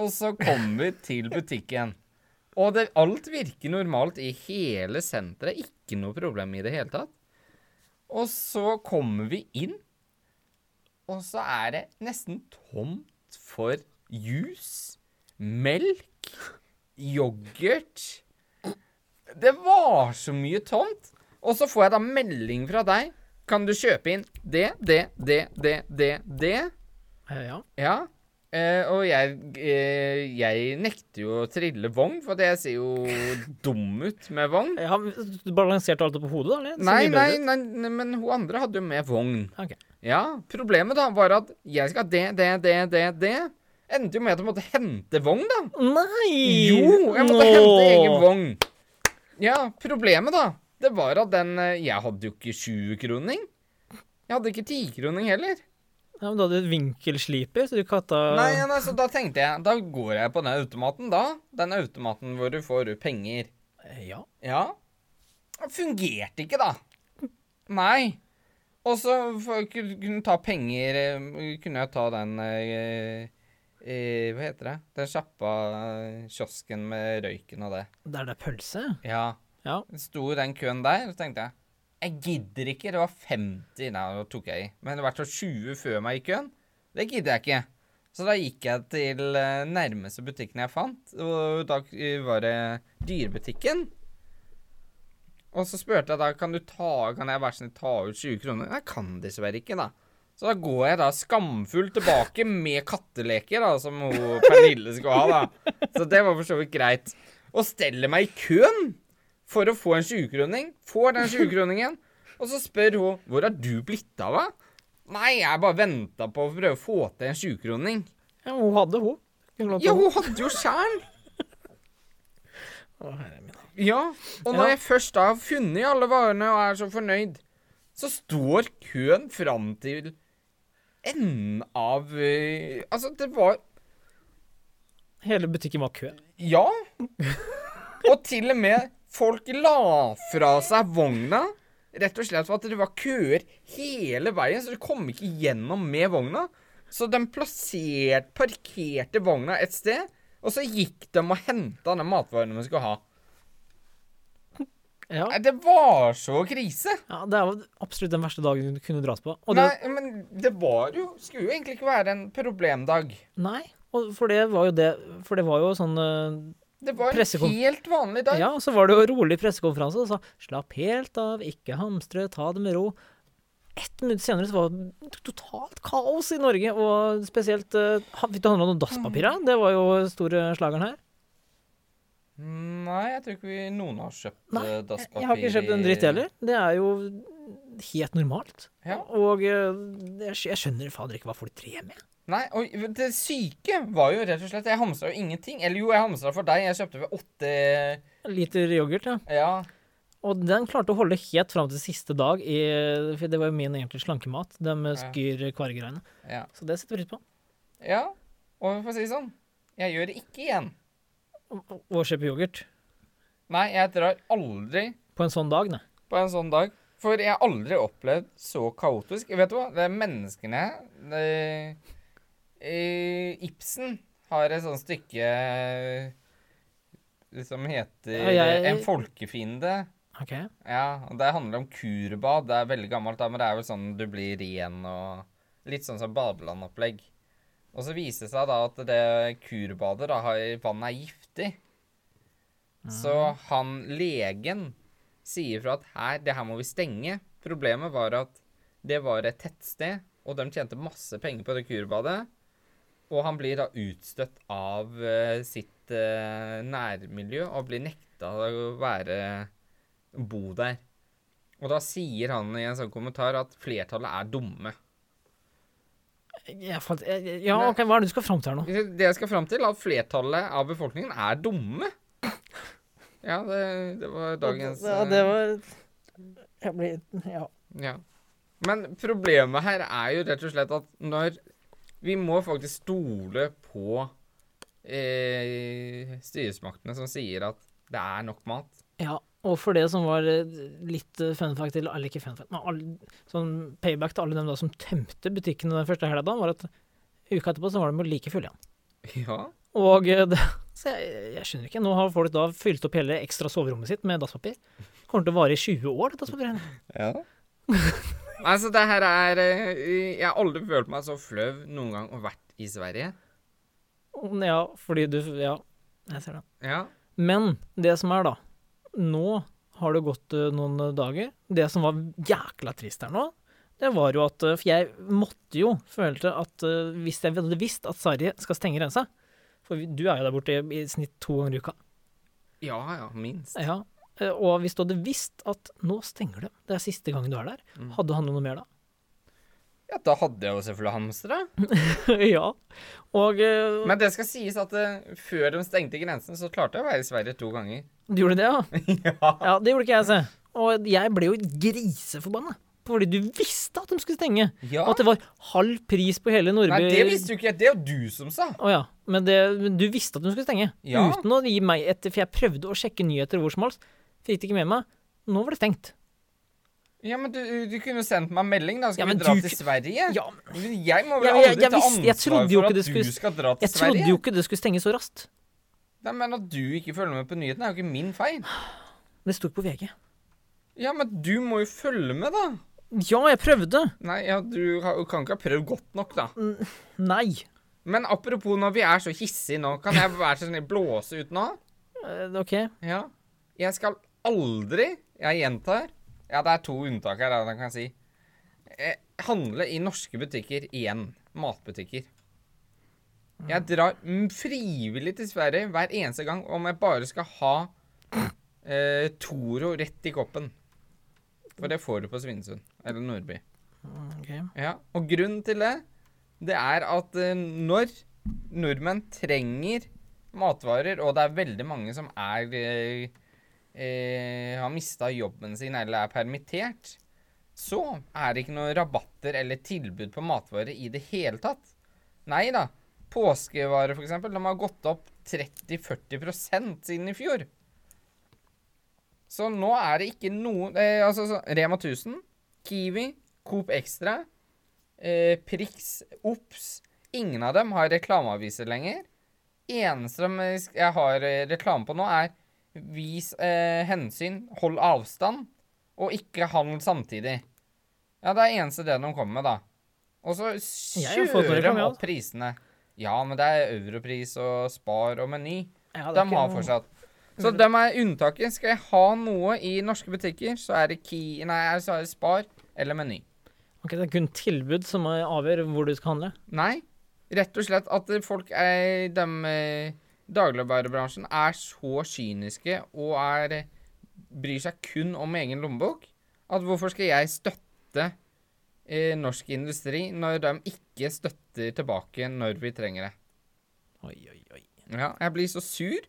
Speaker 2: Og så kom vi til butikken. Og det, alt virker normalt i hele senteret. Ikke noe problem i det hele tatt. Og så kommer vi inn, og så er det nesten tomt for juice, melk, yoghurt. Det var så mye tomt. Og så får jeg da melding fra deg. Kan du kjøpe inn det, det, det, det, det, det?
Speaker 1: Eh, Ja.
Speaker 2: Ja. Eh, og jeg, eh, jeg nekter jo å trille vogn, for det ser jo dum ut med vogn.
Speaker 1: Ja, men Du balanserte alt opp på hodet, da? eller? Så
Speaker 2: Nei,
Speaker 1: mye
Speaker 2: nei,
Speaker 1: bedre ut.
Speaker 2: nei, nei, men hun andre hadde jo med vogn.
Speaker 1: Ok.
Speaker 2: Ja, problemet da var at jeg skal ha det, det, det, det, det. Endte jo med at jeg måtte hente vogn, da.
Speaker 1: Nei!
Speaker 2: Jo, jeg måtte hente
Speaker 1: Nå.
Speaker 2: egen vogn. Ja, problemet da, det var at den eh, Jeg hadde jo ikke 20-kroning. Jeg hadde ikke 10-kroning heller.
Speaker 1: Ja, men Du hadde et vinkelsliper, så du katta
Speaker 2: Nei, ja, nei, så da tenkte jeg Da går jeg på den automaten, da. Den automaten hvor du får penger.
Speaker 1: Eh, Ja.
Speaker 2: Ja. Den Fungerte ikke, da. Nei. Og så for å kun- kunne ta penger eh, Kunne jeg ta den eh, eh, Hva heter det? Den sjappa eh, kiosken med røyken og det.
Speaker 1: Der det er pølse?
Speaker 2: Ja.
Speaker 1: Ja.
Speaker 2: Sto i den køen der, og så tenkte jeg Jeg gidder ikke. Det var 50 Nei, nå tok jeg i. Men det var så 20 før meg i køen. Det gidder jeg ikke. Så da gikk jeg til eh, nærmeste butikken jeg fant, og da eh, var det dyrebutikken. Og så spurte jeg da kan du ta, kan jeg være snill ta ut 20 kroner. Jeg kan dessverre ikke, da. Så da går jeg da skamfullt tilbake med katteleker, da, som hun Pernille skal ha, da. Så det var for så vidt greit. Og steller meg i køen for å få en 20-kroning. Får den 20-kroningen, og så spør hun 'Hvor har du blitt av', da? Nei, jeg bare venta på å prøve å få til en 20-kroning.
Speaker 1: ja hun hadde hun. Kunne lånt
Speaker 2: Ja,
Speaker 1: hun.
Speaker 2: hun hadde jo sjæl!
Speaker 1: Å, herre min.
Speaker 2: Ja. Og når
Speaker 1: Ja.
Speaker 2: jeg først da har funnet alle varene og er så fornøyd, så står køen fram til enden av eh, Altså, det var
Speaker 1: Hele butikken var kø.
Speaker 2: Ja. Og til og med folk la fra seg vogna. Rett og slett for at det var køer hele veien, så du kom ikke gjennom med vogna. Så de plassert, parkerte vogna et sted, og så gikk de og henta den matvarene de skulle ha.
Speaker 1: Ja.
Speaker 2: Nei, Det var så krise.
Speaker 1: ja, det er jo absolutt den verste dagen du kunne dras på. Og det,
Speaker 2: Nei, men det var jo Skulle jo egentlig ikke være en problemdag.
Speaker 1: nei. Og for det var jo det For det var jo sånn eh,
Speaker 2: Det var en
Speaker 1: Pressekonf-
Speaker 2: helt vanlig dag.
Speaker 1: Ja, så var det jo rolig pressekonferanse og sa 'slapp helt av, ikke hamstre, ta det med ro'. Ett minutt senere så var det totalt kaos i Norge, og spesielt eh, ha- Fikk du handla noen dasspapir? da? Det var jo store slageren her.
Speaker 2: Nei, jeg tror ikke vi noen har kjøpt
Speaker 1: Nei,
Speaker 2: eh,
Speaker 1: Jeg-
Speaker 2: dasspapir.
Speaker 1: Jeg har ikke kjøpt en dritt heller. Det er jo helt normalt.
Speaker 2: Ja.
Speaker 1: Og eh, jeg skj- jeg skjønner fader ikke hva folk drev med.
Speaker 2: Nei, og det syke var jo rett og slett Jeg hamstra jo ingenting. Eller jo, jeg hamstra for deg. Jeg kjøpte vel åtte
Speaker 1: En liter yoghurt, ja.
Speaker 2: Ja.
Speaker 1: Og den klarte å holde helt fram til siste dag, i, for det var jo min egentlig slankemat. De skyr kvargreiene.
Speaker 2: Ja.
Speaker 1: Så det setter jeg pris på.
Speaker 2: ja. Og for å si det sånn, jeg gjør det ikke igjen.
Speaker 1: Å å kjøpe yoghurt
Speaker 2: Nei, jeg drar aldri
Speaker 1: på en sånn dag, nei.
Speaker 2: på en sånn dag. For jeg har aldri opplevd så kaotisk. Vet du hva? Det er menneskene det, eh, Ibsen har et sånt stykke eh, som
Speaker 1: Ja,
Speaker 2: heter
Speaker 1: jeg-
Speaker 2: En folkefiende.
Speaker 1: Ok.
Speaker 2: Ja, og det handler om kurbad. Det er veldig gammelt, da, men det er vel sånn du blir ren og Litt sånn som badelandopplegg. Og så viser det seg da at det kurbadet da, har, vannet er giftig. Så han legen sier fra at her, det her må vi stenge. Problemet var at det var et tettsted, og de tjente masse penger på det kurbadet. Og han blir da utstøtt av eh, sitt eh, nærmiljø og blir nekta å være bo der. Og da sier han i en sånn kommentar at flertallet er dumme.
Speaker 1: Jeg falt, jeg, jeg- ja, ok, hva er det du skal fram til her nå?
Speaker 2: Det jeg skal fram til, er at flertallet av befolkningen er dumme. Ja, det, det var dagens eh,
Speaker 1: Ja, det var Jeg blir Ja.
Speaker 2: Ja. Men problemet her er jo rett og slett at når Vi må faktisk stole på eh, styresmaktene som sier at det er nok mat.
Speaker 1: Ja, og for det som var eh, litt eh, fun fact til Eller ikke fun fact, men all, sånn payback til alle dem da som tømte butikkene den første helga, da, var at uka etterpå så var de like fulle igjen.
Speaker 2: Ja.
Speaker 1: Og eh, det Så jeg, jeg skjønner ikke. Nå har folk da fylt opp hele ekstra soverommet sitt med dasspapir. Kommer til å vare i 20 år, det dasspapiret.
Speaker 2: Ja. altså, det her er eh, Jeg har aldri følt meg så flau noen gang og vært i Sverige.
Speaker 1: Ja, fordi du Ja, jeg ser det.
Speaker 2: Ja.
Speaker 1: Men det som er, da Nå har det gått eh, noen dager. Det som var jækla trist her nå, det var jo at eh, For jeg måtte jo følte at eh, hvis jeg hadde visst at Sverige skal stenge grensa For vi- du er jo der borte i, i snitt to ganger i uka.
Speaker 2: Ja, ja, minst.
Speaker 1: Ja. eh, Og hvis du hadde visst at nå stenger de, det er siste gangen du er der, hadde du handlet noe mer da?
Speaker 2: Ja, da hadde jeg jo selvfølgelig hamstra.
Speaker 1: ja. Og eh,
Speaker 2: Men det skal sies at eh, før de stengte grensen, så klarte jeg å være i Sverige to ganger.
Speaker 1: du gjorde det, ja?
Speaker 2: ja.
Speaker 1: Ja, det gjorde ikke jeg, se. Og jeg ble jo griseforbanna. Fordi du visste at de skulle stenge.
Speaker 2: Ja.
Speaker 1: Og at det var halv pris på hele Nordby.
Speaker 2: Nei, det visste jo ikke jeg. Det er jo du som sa.
Speaker 1: Å ja. Men det, men du visste at de skulle stenge.
Speaker 2: Ja.
Speaker 1: Uten å gi meg et For jeg prøvde å sjekke nyheter hvor som helst. Fikk det ikke med meg. Nå var det stengt.
Speaker 2: Ja, men du, du kunne jo sendt meg en melding, da. Skal
Speaker 1: Ja, men
Speaker 2: vi dra
Speaker 1: du
Speaker 2: til
Speaker 1: kun-
Speaker 2: Sverige?
Speaker 1: Ja,
Speaker 2: Jeg må vel
Speaker 1: Ja,
Speaker 2: aldri
Speaker 1: jeg- jeg
Speaker 2: ta
Speaker 1: visste- jeg
Speaker 2: ansvar
Speaker 1: trodde jo
Speaker 2: for
Speaker 1: ikke
Speaker 2: at
Speaker 1: det
Speaker 2: du
Speaker 1: skulle-
Speaker 2: skal dra til
Speaker 1: jeg trodde
Speaker 2: Sverige.
Speaker 1: jo ikke det skulle stenge så raskt.
Speaker 2: Nei, men at du ikke følger med på nyhetene, er jo ikke min feil.
Speaker 1: Det sto på VG.
Speaker 2: Ja, men du må jo følge med, da.
Speaker 1: Ja, jeg prøvde.
Speaker 2: Nei, ja, du har- kan ikke ha prøvd godt nok, da.
Speaker 1: Nei.
Speaker 2: Men apropos når vi er så hissige nå, kan jeg være så snill blåse ut nå?
Speaker 1: Eh, OK.
Speaker 2: Ja. Jeg skal aldri, jeg gjentar Ja, det er to unntak her, da, kan jeg si. Eh, handle i norske butikker igjen. Matbutikker. Jeg drar mm, frivillig til Sverige hver eneste gang om jeg bare skal ha eh, Toro rett i koppen. For det får du på Svinesund. Eller Nordby.
Speaker 1: ok.
Speaker 2: Ja, og grunnen til det, det er at eh, når nordmenn trenger matvarer, og det er veldig mange som er eh, eh, har mista jobben sin eller er permittert, så er det ikke noen rabatter eller tilbud på matvarer i det hele tatt. Nei da. Påskevarer, for eksempel, de har gått opp 30-40 siden i fjor. Så nå er det ikke noe eh, Altså, så, Rema 1000, Kiwi, Coop Extra, eh, Prix, Ops Ingen av dem har reklameaviser lenger. Eneste de, eh, sk- jeg har eh, reklame på nå, er vis eh, hensyn, hold avstand, og ikke handel samtidig. Ja, det er eneste det de kommer med, da. Og så
Speaker 1: har jo fått
Speaker 2: kjører de
Speaker 1: reklame, ja.
Speaker 2: opp prisene. Ja, men det er Europris og Spar og Meny.
Speaker 1: Ja, det er
Speaker 2: De
Speaker 1: ikke
Speaker 2: har
Speaker 1: noe-
Speaker 2: fortsatt. Så dem er unntaket. Skal jeg ha noe i norske butikker, så er det Ki... Nei, så er det Spar eller Meny.
Speaker 1: Ok, Det er kun tilbud som eh, avgjør hvor du skal handle.
Speaker 2: Nei. Rett og slett at folk er Dem eh, Dagligvarebransjen er så kyniske og er bryr seg kun om egen lommebok. At hvorfor skal jeg støtte eh, norsk industri når de ikke støtter tilbake når vi trenger det?
Speaker 1: Oi, oi, oi.
Speaker 2: Ja, jeg blir så sur.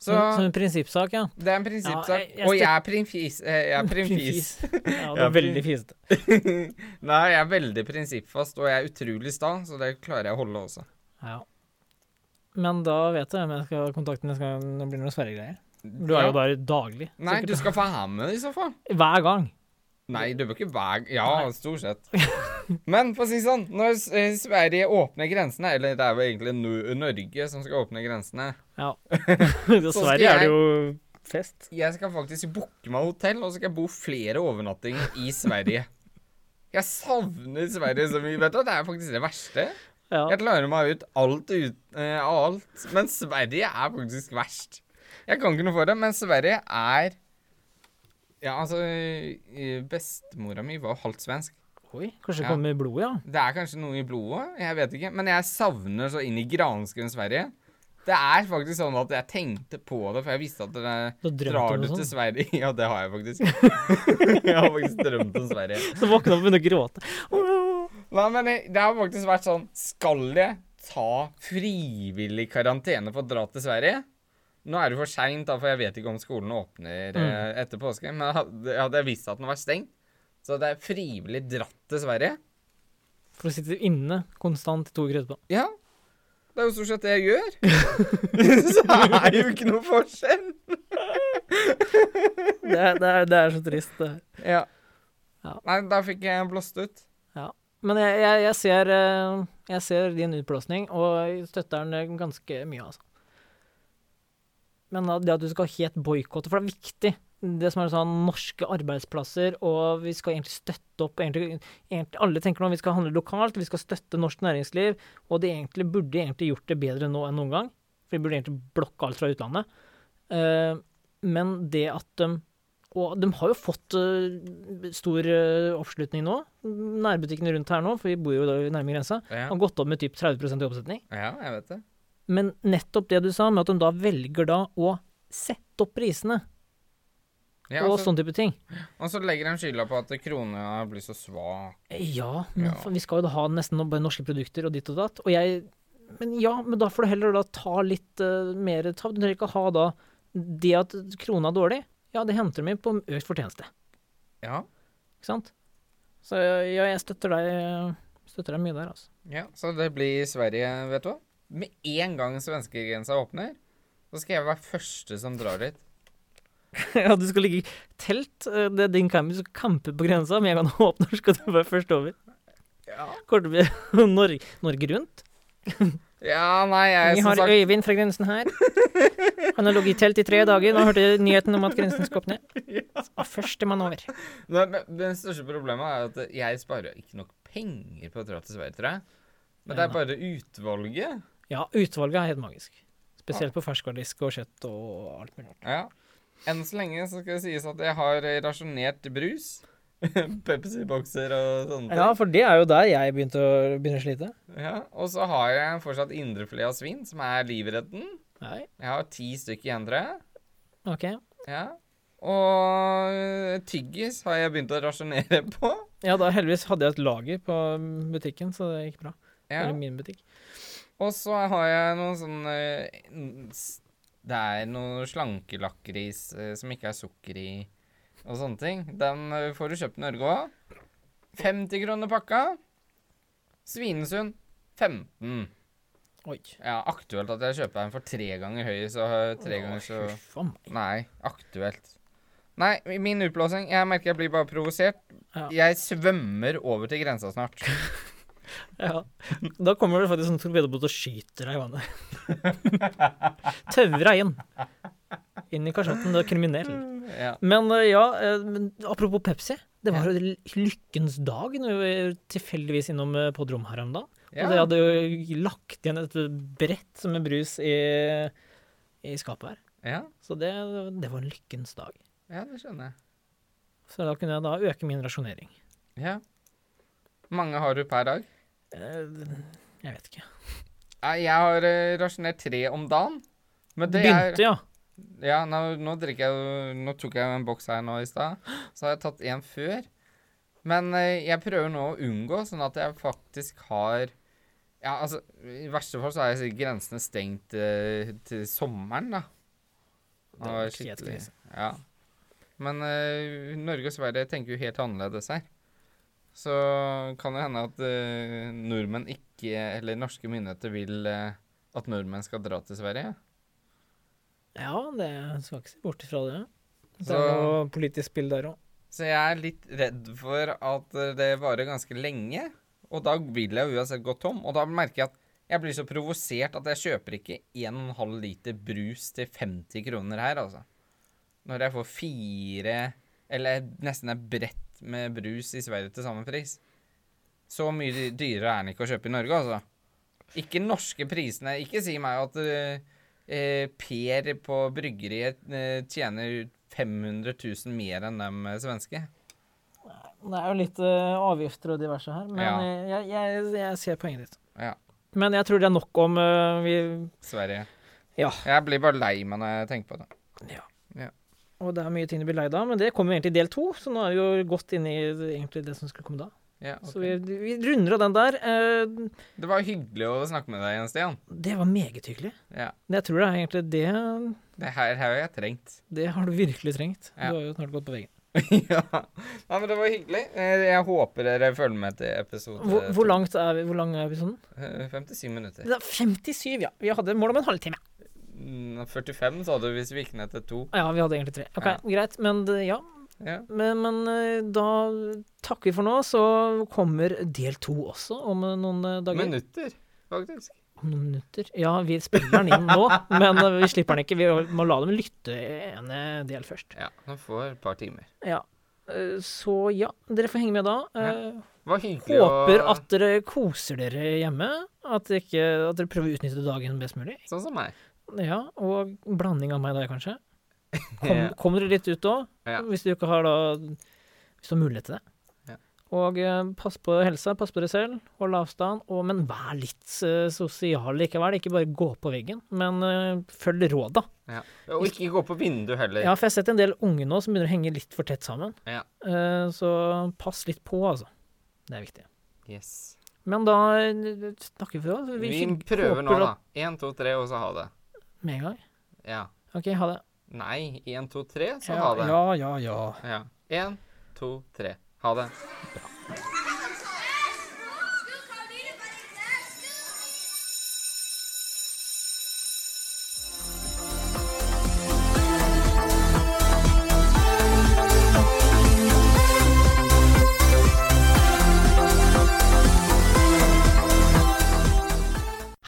Speaker 1: Så, som en prinsippsak, ja.
Speaker 2: Det er en prinsippsak.
Speaker 1: Ja, jeg- jeg
Speaker 2: og jeg er primfis. eh, Jeg er primfis.
Speaker 1: Fis. Ja, det
Speaker 2: Ja,
Speaker 1: er
Speaker 2: prim-
Speaker 1: veldig fisete.
Speaker 2: Nei, jeg er veldig prinsippfast, og jeg er utrolig sta, så det klarer jeg å holde også.
Speaker 1: Ja. Men da vet jeg hvem jeg skal kontakte neste gang det blir noen sperregreier. Du er jo der daglig.
Speaker 2: Nei,
Speaker 1: sikkert.
Speaker 2: du skal få være med i så fall.
Speaker 1: Hver gang.
Speaker 2: Nei, du bør ikke hver Ja,
Speaker 1: Nei.
Speaker 2: stort sett. Men for å si det sånn, når S- eh, Sverige åpner grensene, eller det er jo egentlig Nor- Norge som skal åpne grensene
Speaker 1: Ja.
Speaker 2: skal
Speaker 1: Dessverre er
Speaker 2: jeg-
Speaker 1: det jo fest.
Speaker 2: Jeg skal faktisk booke meg hotell, og så skal jeg bo flere overnattinger i Sverige. Jeg savner Sverige så mye. Vet du, det er faktisk det verste.
Speaker 1: Ja.
Speaker 2: Jeg klarer meg ut alt ut, eh, av alt, men Sverige er faktisk verst. Jeg kan ikke noe for det, men Sverige er Ja, altså eh, Bestemora mi var halvt svensk.
Speaker 1: Oi, kanskje det
Speaker 2: Ja.
Speaker 1: kommer blod, ja.
Speaker 2: Det er kanskje noe i blodet, jeg vet ikke. Men jeg savner så inn i gransken Sverige. Det er faktisk sånn at jeg tenkte på det, for jeg visste at det
Speaker 1: Du drømte
Speaker 2: Drar
Speaker 1: om sånn?
Speaker 2: du
Speaker 1: noe
Speaker 2: til
Speaker 1: sånt.
Speaker 2: Sverige Ja, det har jeg faktisk. jeg har faktisk drømt om Sverige.
Speaker 1: Så våkna opp og begynte å gråte. Åh.
Speaker 2: Nei, men det det har faktisk vært sånn Skal jeg ta frivillig karantene for å dra til Sverige? Nå er det for seint, da, for jeg vet ikke om skolen åpner eh, etter påske. Men hadde, hadde jeg visst at den var stengt, så hadde jeg frivillig dratt til Sverige.
Speaker 1: For å sitte inne konstant i to uker etterpå.
Speaker 2: Ja. Det er jo stort sett det jeg gjør. så er det jo ikke noe forskjell.
Speaker 1: Det er, det er, det er så trist. det her.
Speaker 2: Ja.
Speaker 1: Ja.
Speaker 2: Nei, da fikk jeg blåst ut.
Speaker 1: Men jeg, jeg, jeg, ser, eh, jeg ser din utblåsning, og jeg støtter den eh, ganske mye, altså. Men da- det at du skal helt boikotte, for det er viktig. Det som er sånn norske arbeidsplasser, og vi skal egentlig støtte opp egentlig, egentlig, Alle tenker nå vi skal handle lokalt, vi skal støtte norsk næringsliv, og det egentlig burde egentlig gjort det bedre nå enn noen gang. For vi burde egentlig blokke alt fra utlandet. Eh, men det at de Og de har jo fått eh, stor eh, oppslutning nå. Nærbutikkene rundt her nå, for vi bor jo da nærme grensa,
Speaker 2: Ja.
Speaker 1: har gått opp med typ 30 i oppsetning.
Speaker 2: ja, jeg vet det.
Speaker 1: Men nettopp det du sa, med at de da velger da å sette opp prisene
Speaker 2: Ja,
Speaker 1: og
Speaker 2: altså-
Speaker 1: sånn type ting.
Speaker 2: Og så legger de skylda på at krona blir så svak.
Speaker 1: Ja, men
Speaker 2: Ja.
Speaker 1: faen, vi skal jo da ha nesten no- bare norske produkter og ditt og datt. Og jeg Men ja, men da får du heller da ta litt eh, mer tap. Du trenger ikke ha da det at krona er dårlig. Ja, det henter de inn på økt fortjeneste.
Speaker 2: Ja.
Speaker 1: Ikke sant? Så ja, jeg støtter deg, støtter deg mye der, altså.
Speaker 2: ja. Så det blir Sverige, vet du hva. Med en gang svenskegrensa åpner, så skal jeg være første som drar dit.
Speaker 1: ja, du skal ligge i telt. eh, Det er din camp. Du skal campe på grensa. Med en gang det åpner, skal du være først over.
Speaker 2: Ja,
Speaker 1: Kommer til å bli Norge, Norge rundt.
Speaker 2: nei, jeg
Speaker 1: Vi
Speaker 2: som
Speaker 1: har
Speaker 2: sagt
Speaker 1: Øyvind fra grensen her. Han har ligget i telt i tre dager. Nå hørte jeg nyheten om at grensen skal åpne. Og Førstemann over.
Speaker 2: Nei, men Det største problemet er at jeg sparer ikke nok penger på å dra til Sverige, tror jeg. Men det er bare utvalget.
Speaker 1: Ja, utvalget er helt magisk. Spesielt på ferskvaredisk og kjøtt og alt mulig rart.
Speaker 2: Ja. Enn så lenge så skal det sies at jeg har eh, rasjonert brus. Pepsi-bokser og sånne ting.
Speaker 1: Ja, for det er jo der jeg begynte å, begynner å slite.
Speaker 2: Ja, og så har jeg fortsatt indrefilet av svin, som er livretten.
Speaker 1: Nei,
Speaker 2: Jeg har ti stykker igjen, tror jeg.
Speaker 1: ok.
Speaker 2: Ja. Og eh, tyggis har jeg begynt å rasjonere på.
Speaker 1: Ja, da heldigvis hadde jeg et lager på butikken, så det gikk bra.
Speaker 2: Ja.
Speaker 1: Eller min butikk.
Speaker 2: Og så har jeg noen sånn eh, n- s- Det er noe slankelakris eh, som ikke er sukker i, og sånne ting. Den eh, får du kjøpt i Norge òg. 50 kroner pakka. Svinesund 15.
Speaker 1: Oi.
Speaker 2: Ja, aktuelt at jeg kjøper en for tre ganger høy, så eh, tre ganger så
Speaker 1: Å, huffa meg.
Speaker 2: Nei, aktuelt. Nei, min utblåsning Jeg merker jeg blir bare provosert.
Speaker 1: Ja.
Speaker 2: Jeg svømmer over til grensa snart.
Speaker 1: Ja. Da kommer det faktisk en torpedobåt og skyter deg i vannet. Tauer deg inn. Inn i kasjotten. Du er kriminell.
Speaker 2: Ja.
Speaker 1: Men eh, ja, eh, men apropos Pepsi. Det var jo lykkens dag når vi var tilfeldigvis innom eh, podrom her om dagen.
Speaker 2: Ja.
Speaker 1: Og de hadde jo lagt igjen et brett som med brus i, i skapet her.
Speaker 2: ja,
Speaker 1: Så det, det var en lykkens dag.
Speaker 2: ja, det skjønner jeg.
Speaker 1: Så da kunne jeg da øke min rasjonering.
Speaker 2: Ja. Mange har du per dag?
Speaker 1: Eh, Jeg vet ikke.
Speaker 2: Nei, Jeg har eh, rasjonert tre om dagen. Men det er
Speaker 1: Begynte, ja.
Speaker 2: Ja, nå, nå drikker jeg jo- Nå tok jeg jo en boks her nå i stad. Så har jeg tatt en før. Men eh, jeg prøver nå å unngå, sånn at jeg faktisk har Ja, altså, i verste fall så er sikkert grensene stengt eh, til sommeren, da.
Speaker 1: Det er
Speaker 2: Og
Speaker 1: helt krise.
Speaker 2: Ja. Men eh, Norge og Sverige tenker jo helt annerledes her. Så kan det hende at eh, nordmenn ikke Eller norske myndigheter vil eh, at nordmenn skal dra til Sverige.
Speaker 1: Ja, det skal ikke se bort ifra det. Det
Speaker 2: Så-
Speaker 1: er noe politisk spill der òg.
Speaker 2: Så jeg er litt redd for at eh, det varer ganske lenge, og da vil jeg uansett gå tom. Og da merker jeg at jeg blir så provosert at jeg kjøper ikke 1,5 liter brus til 50 kroner her, altså. Når jeg får fire, eller nesten et brett med brus i Sverige til samme pris. Så mye dy- dyrere er den ikke å kjøpe i Norge, altså. Ikke norske prisene. Ikke si meg at eh, eh, Per på bryggeriet eh, tjener 500 000 mer enn dem eh, svenske.
Speaker 1: Det er jo litt eh, avgifter og diverse her, men
Speaker 2: Ja.
Speaker 1: jeg, jeg, jeg ser poenget ditt.
Speaker 2: Ja,
Speaker 1: Men jeg tror det er nok om eh, vi
Speaker 2: Sverige.
Speaker 1: Ja.
Speaker 2: Jeg blir bare lei meg når jeg tenker på det.
Speaker 1: Og det er mye ting du blir lei av, men det kommer egentlig i del to, så nå er vi jo godt inne i egentlig det som skulle komme da.
Speaker 2: Ja, ok.
Speaker 1: Så vi, vi runder av den der. Eh,
Speaker 2: Det var hyggelig å snakke med deg igjen, Stian.
Speaker 1: Det var meget hyggelig.
Speaker 2: Ja,
Speaker 1: Men Jeg tror det er egentlig det
Speaker 2: Det her har jeg trengt.
Speaker 1: Det har du virkelig trengt.
Speaker 2: Ja.
Speaker 1: Du har jo snart gått på veggen.
Speaker 2: ja. Nei, men det var hyggelig. Eh, Jeg håper dere følger med til episode
Speaker 1: Hvor, hvor
Speaker 2: to.
Speaker 1: langt er vi? Hvor lang er episoden?
Speaker 2: Eh, 57 minutter.
Speaker 1: Det er 57, ja. Vi hadde mål om en halvtime.
Speaker 2: Mm, 45 sa du hvis vi gikk ned til to.
Speaker 1: Ja, vi hadde egentlig tre. Ok,
Speaker 2: Ja.
Speaker 1: Greit. Men det- ja.
Speaker 2: Ja.
Speaker 1: Men, men eh, da takker vi for nå. Så kommer del to også om eh, noen eh, dager.
Speaker 2: Minutter, faktisk.
Speaker 1: Om noen minutter. Ja, vi spiller den inn nå, men eh, vi slipper den ikke. Vi må la dem lytte en eh, del først.
Speaker 2: Ja, nå får jeg et par timer.
Speaker 1: Ja. Eh, Så ja, dere får henge med da. Eh,
Speaker 2: Det var hyggelig
Speaker 1: Håper
Speaker 2: å
Speaker 1: at dere koser dere hjemme. At dere, ikke, at dere prøver å utnytte dagen best mulig.
Speaker 2: Sånn som meg.
Speaker 1: Ja, og blanding av meg der, kanskje. Kom,
Speaker 2: Ja.
Speaker 1: kom dere litt ut òg,
Speaker 2: Ja.
Speaker 1: hvis du ikke har da Hvis du har mulighet til det.
Speaker 2: Ja.
Speaker 1: Og eh, pass på helsa, pass på dere selv, hold avstand, og, men vær litt eh, sosial likevel. Ikke bare gå på veggen, men eh, følg råda.
Speaker 2: Ja. Og ikke gå på vinduet heller.
Speaker 1: Ja, for jeg har sett en del unge nå som begynner å henge litt for tett sammen.
Speaker 2: Ja.
Speaker 1: Eh, så pass litt på, altså. Det er viktig.
Speaker 2: Yes.
Speaker 1: Men da eh, snakker vi for oss.
Speaker 2: Vi,
Speaker 1: fikk-
Speaker 2: prøver nå,
Speaker 1: håper
Speaker 2: da.
Speaker 1: at-
Speaker 2: Én, to, tre, og så ha det.
Speaker 1: Med en gang.
Speaker 2: Ja.
Speaker 1: OK, ha det.
Speaker 2: Nei, én, to, tre, så
Speaker 1: Ja,
Speaker 2: ha det.
Speaker 1: ja, ja. ja.
Speaker 2: Ja. Én, to, tre. Ha det.
Speaker 1: Bra.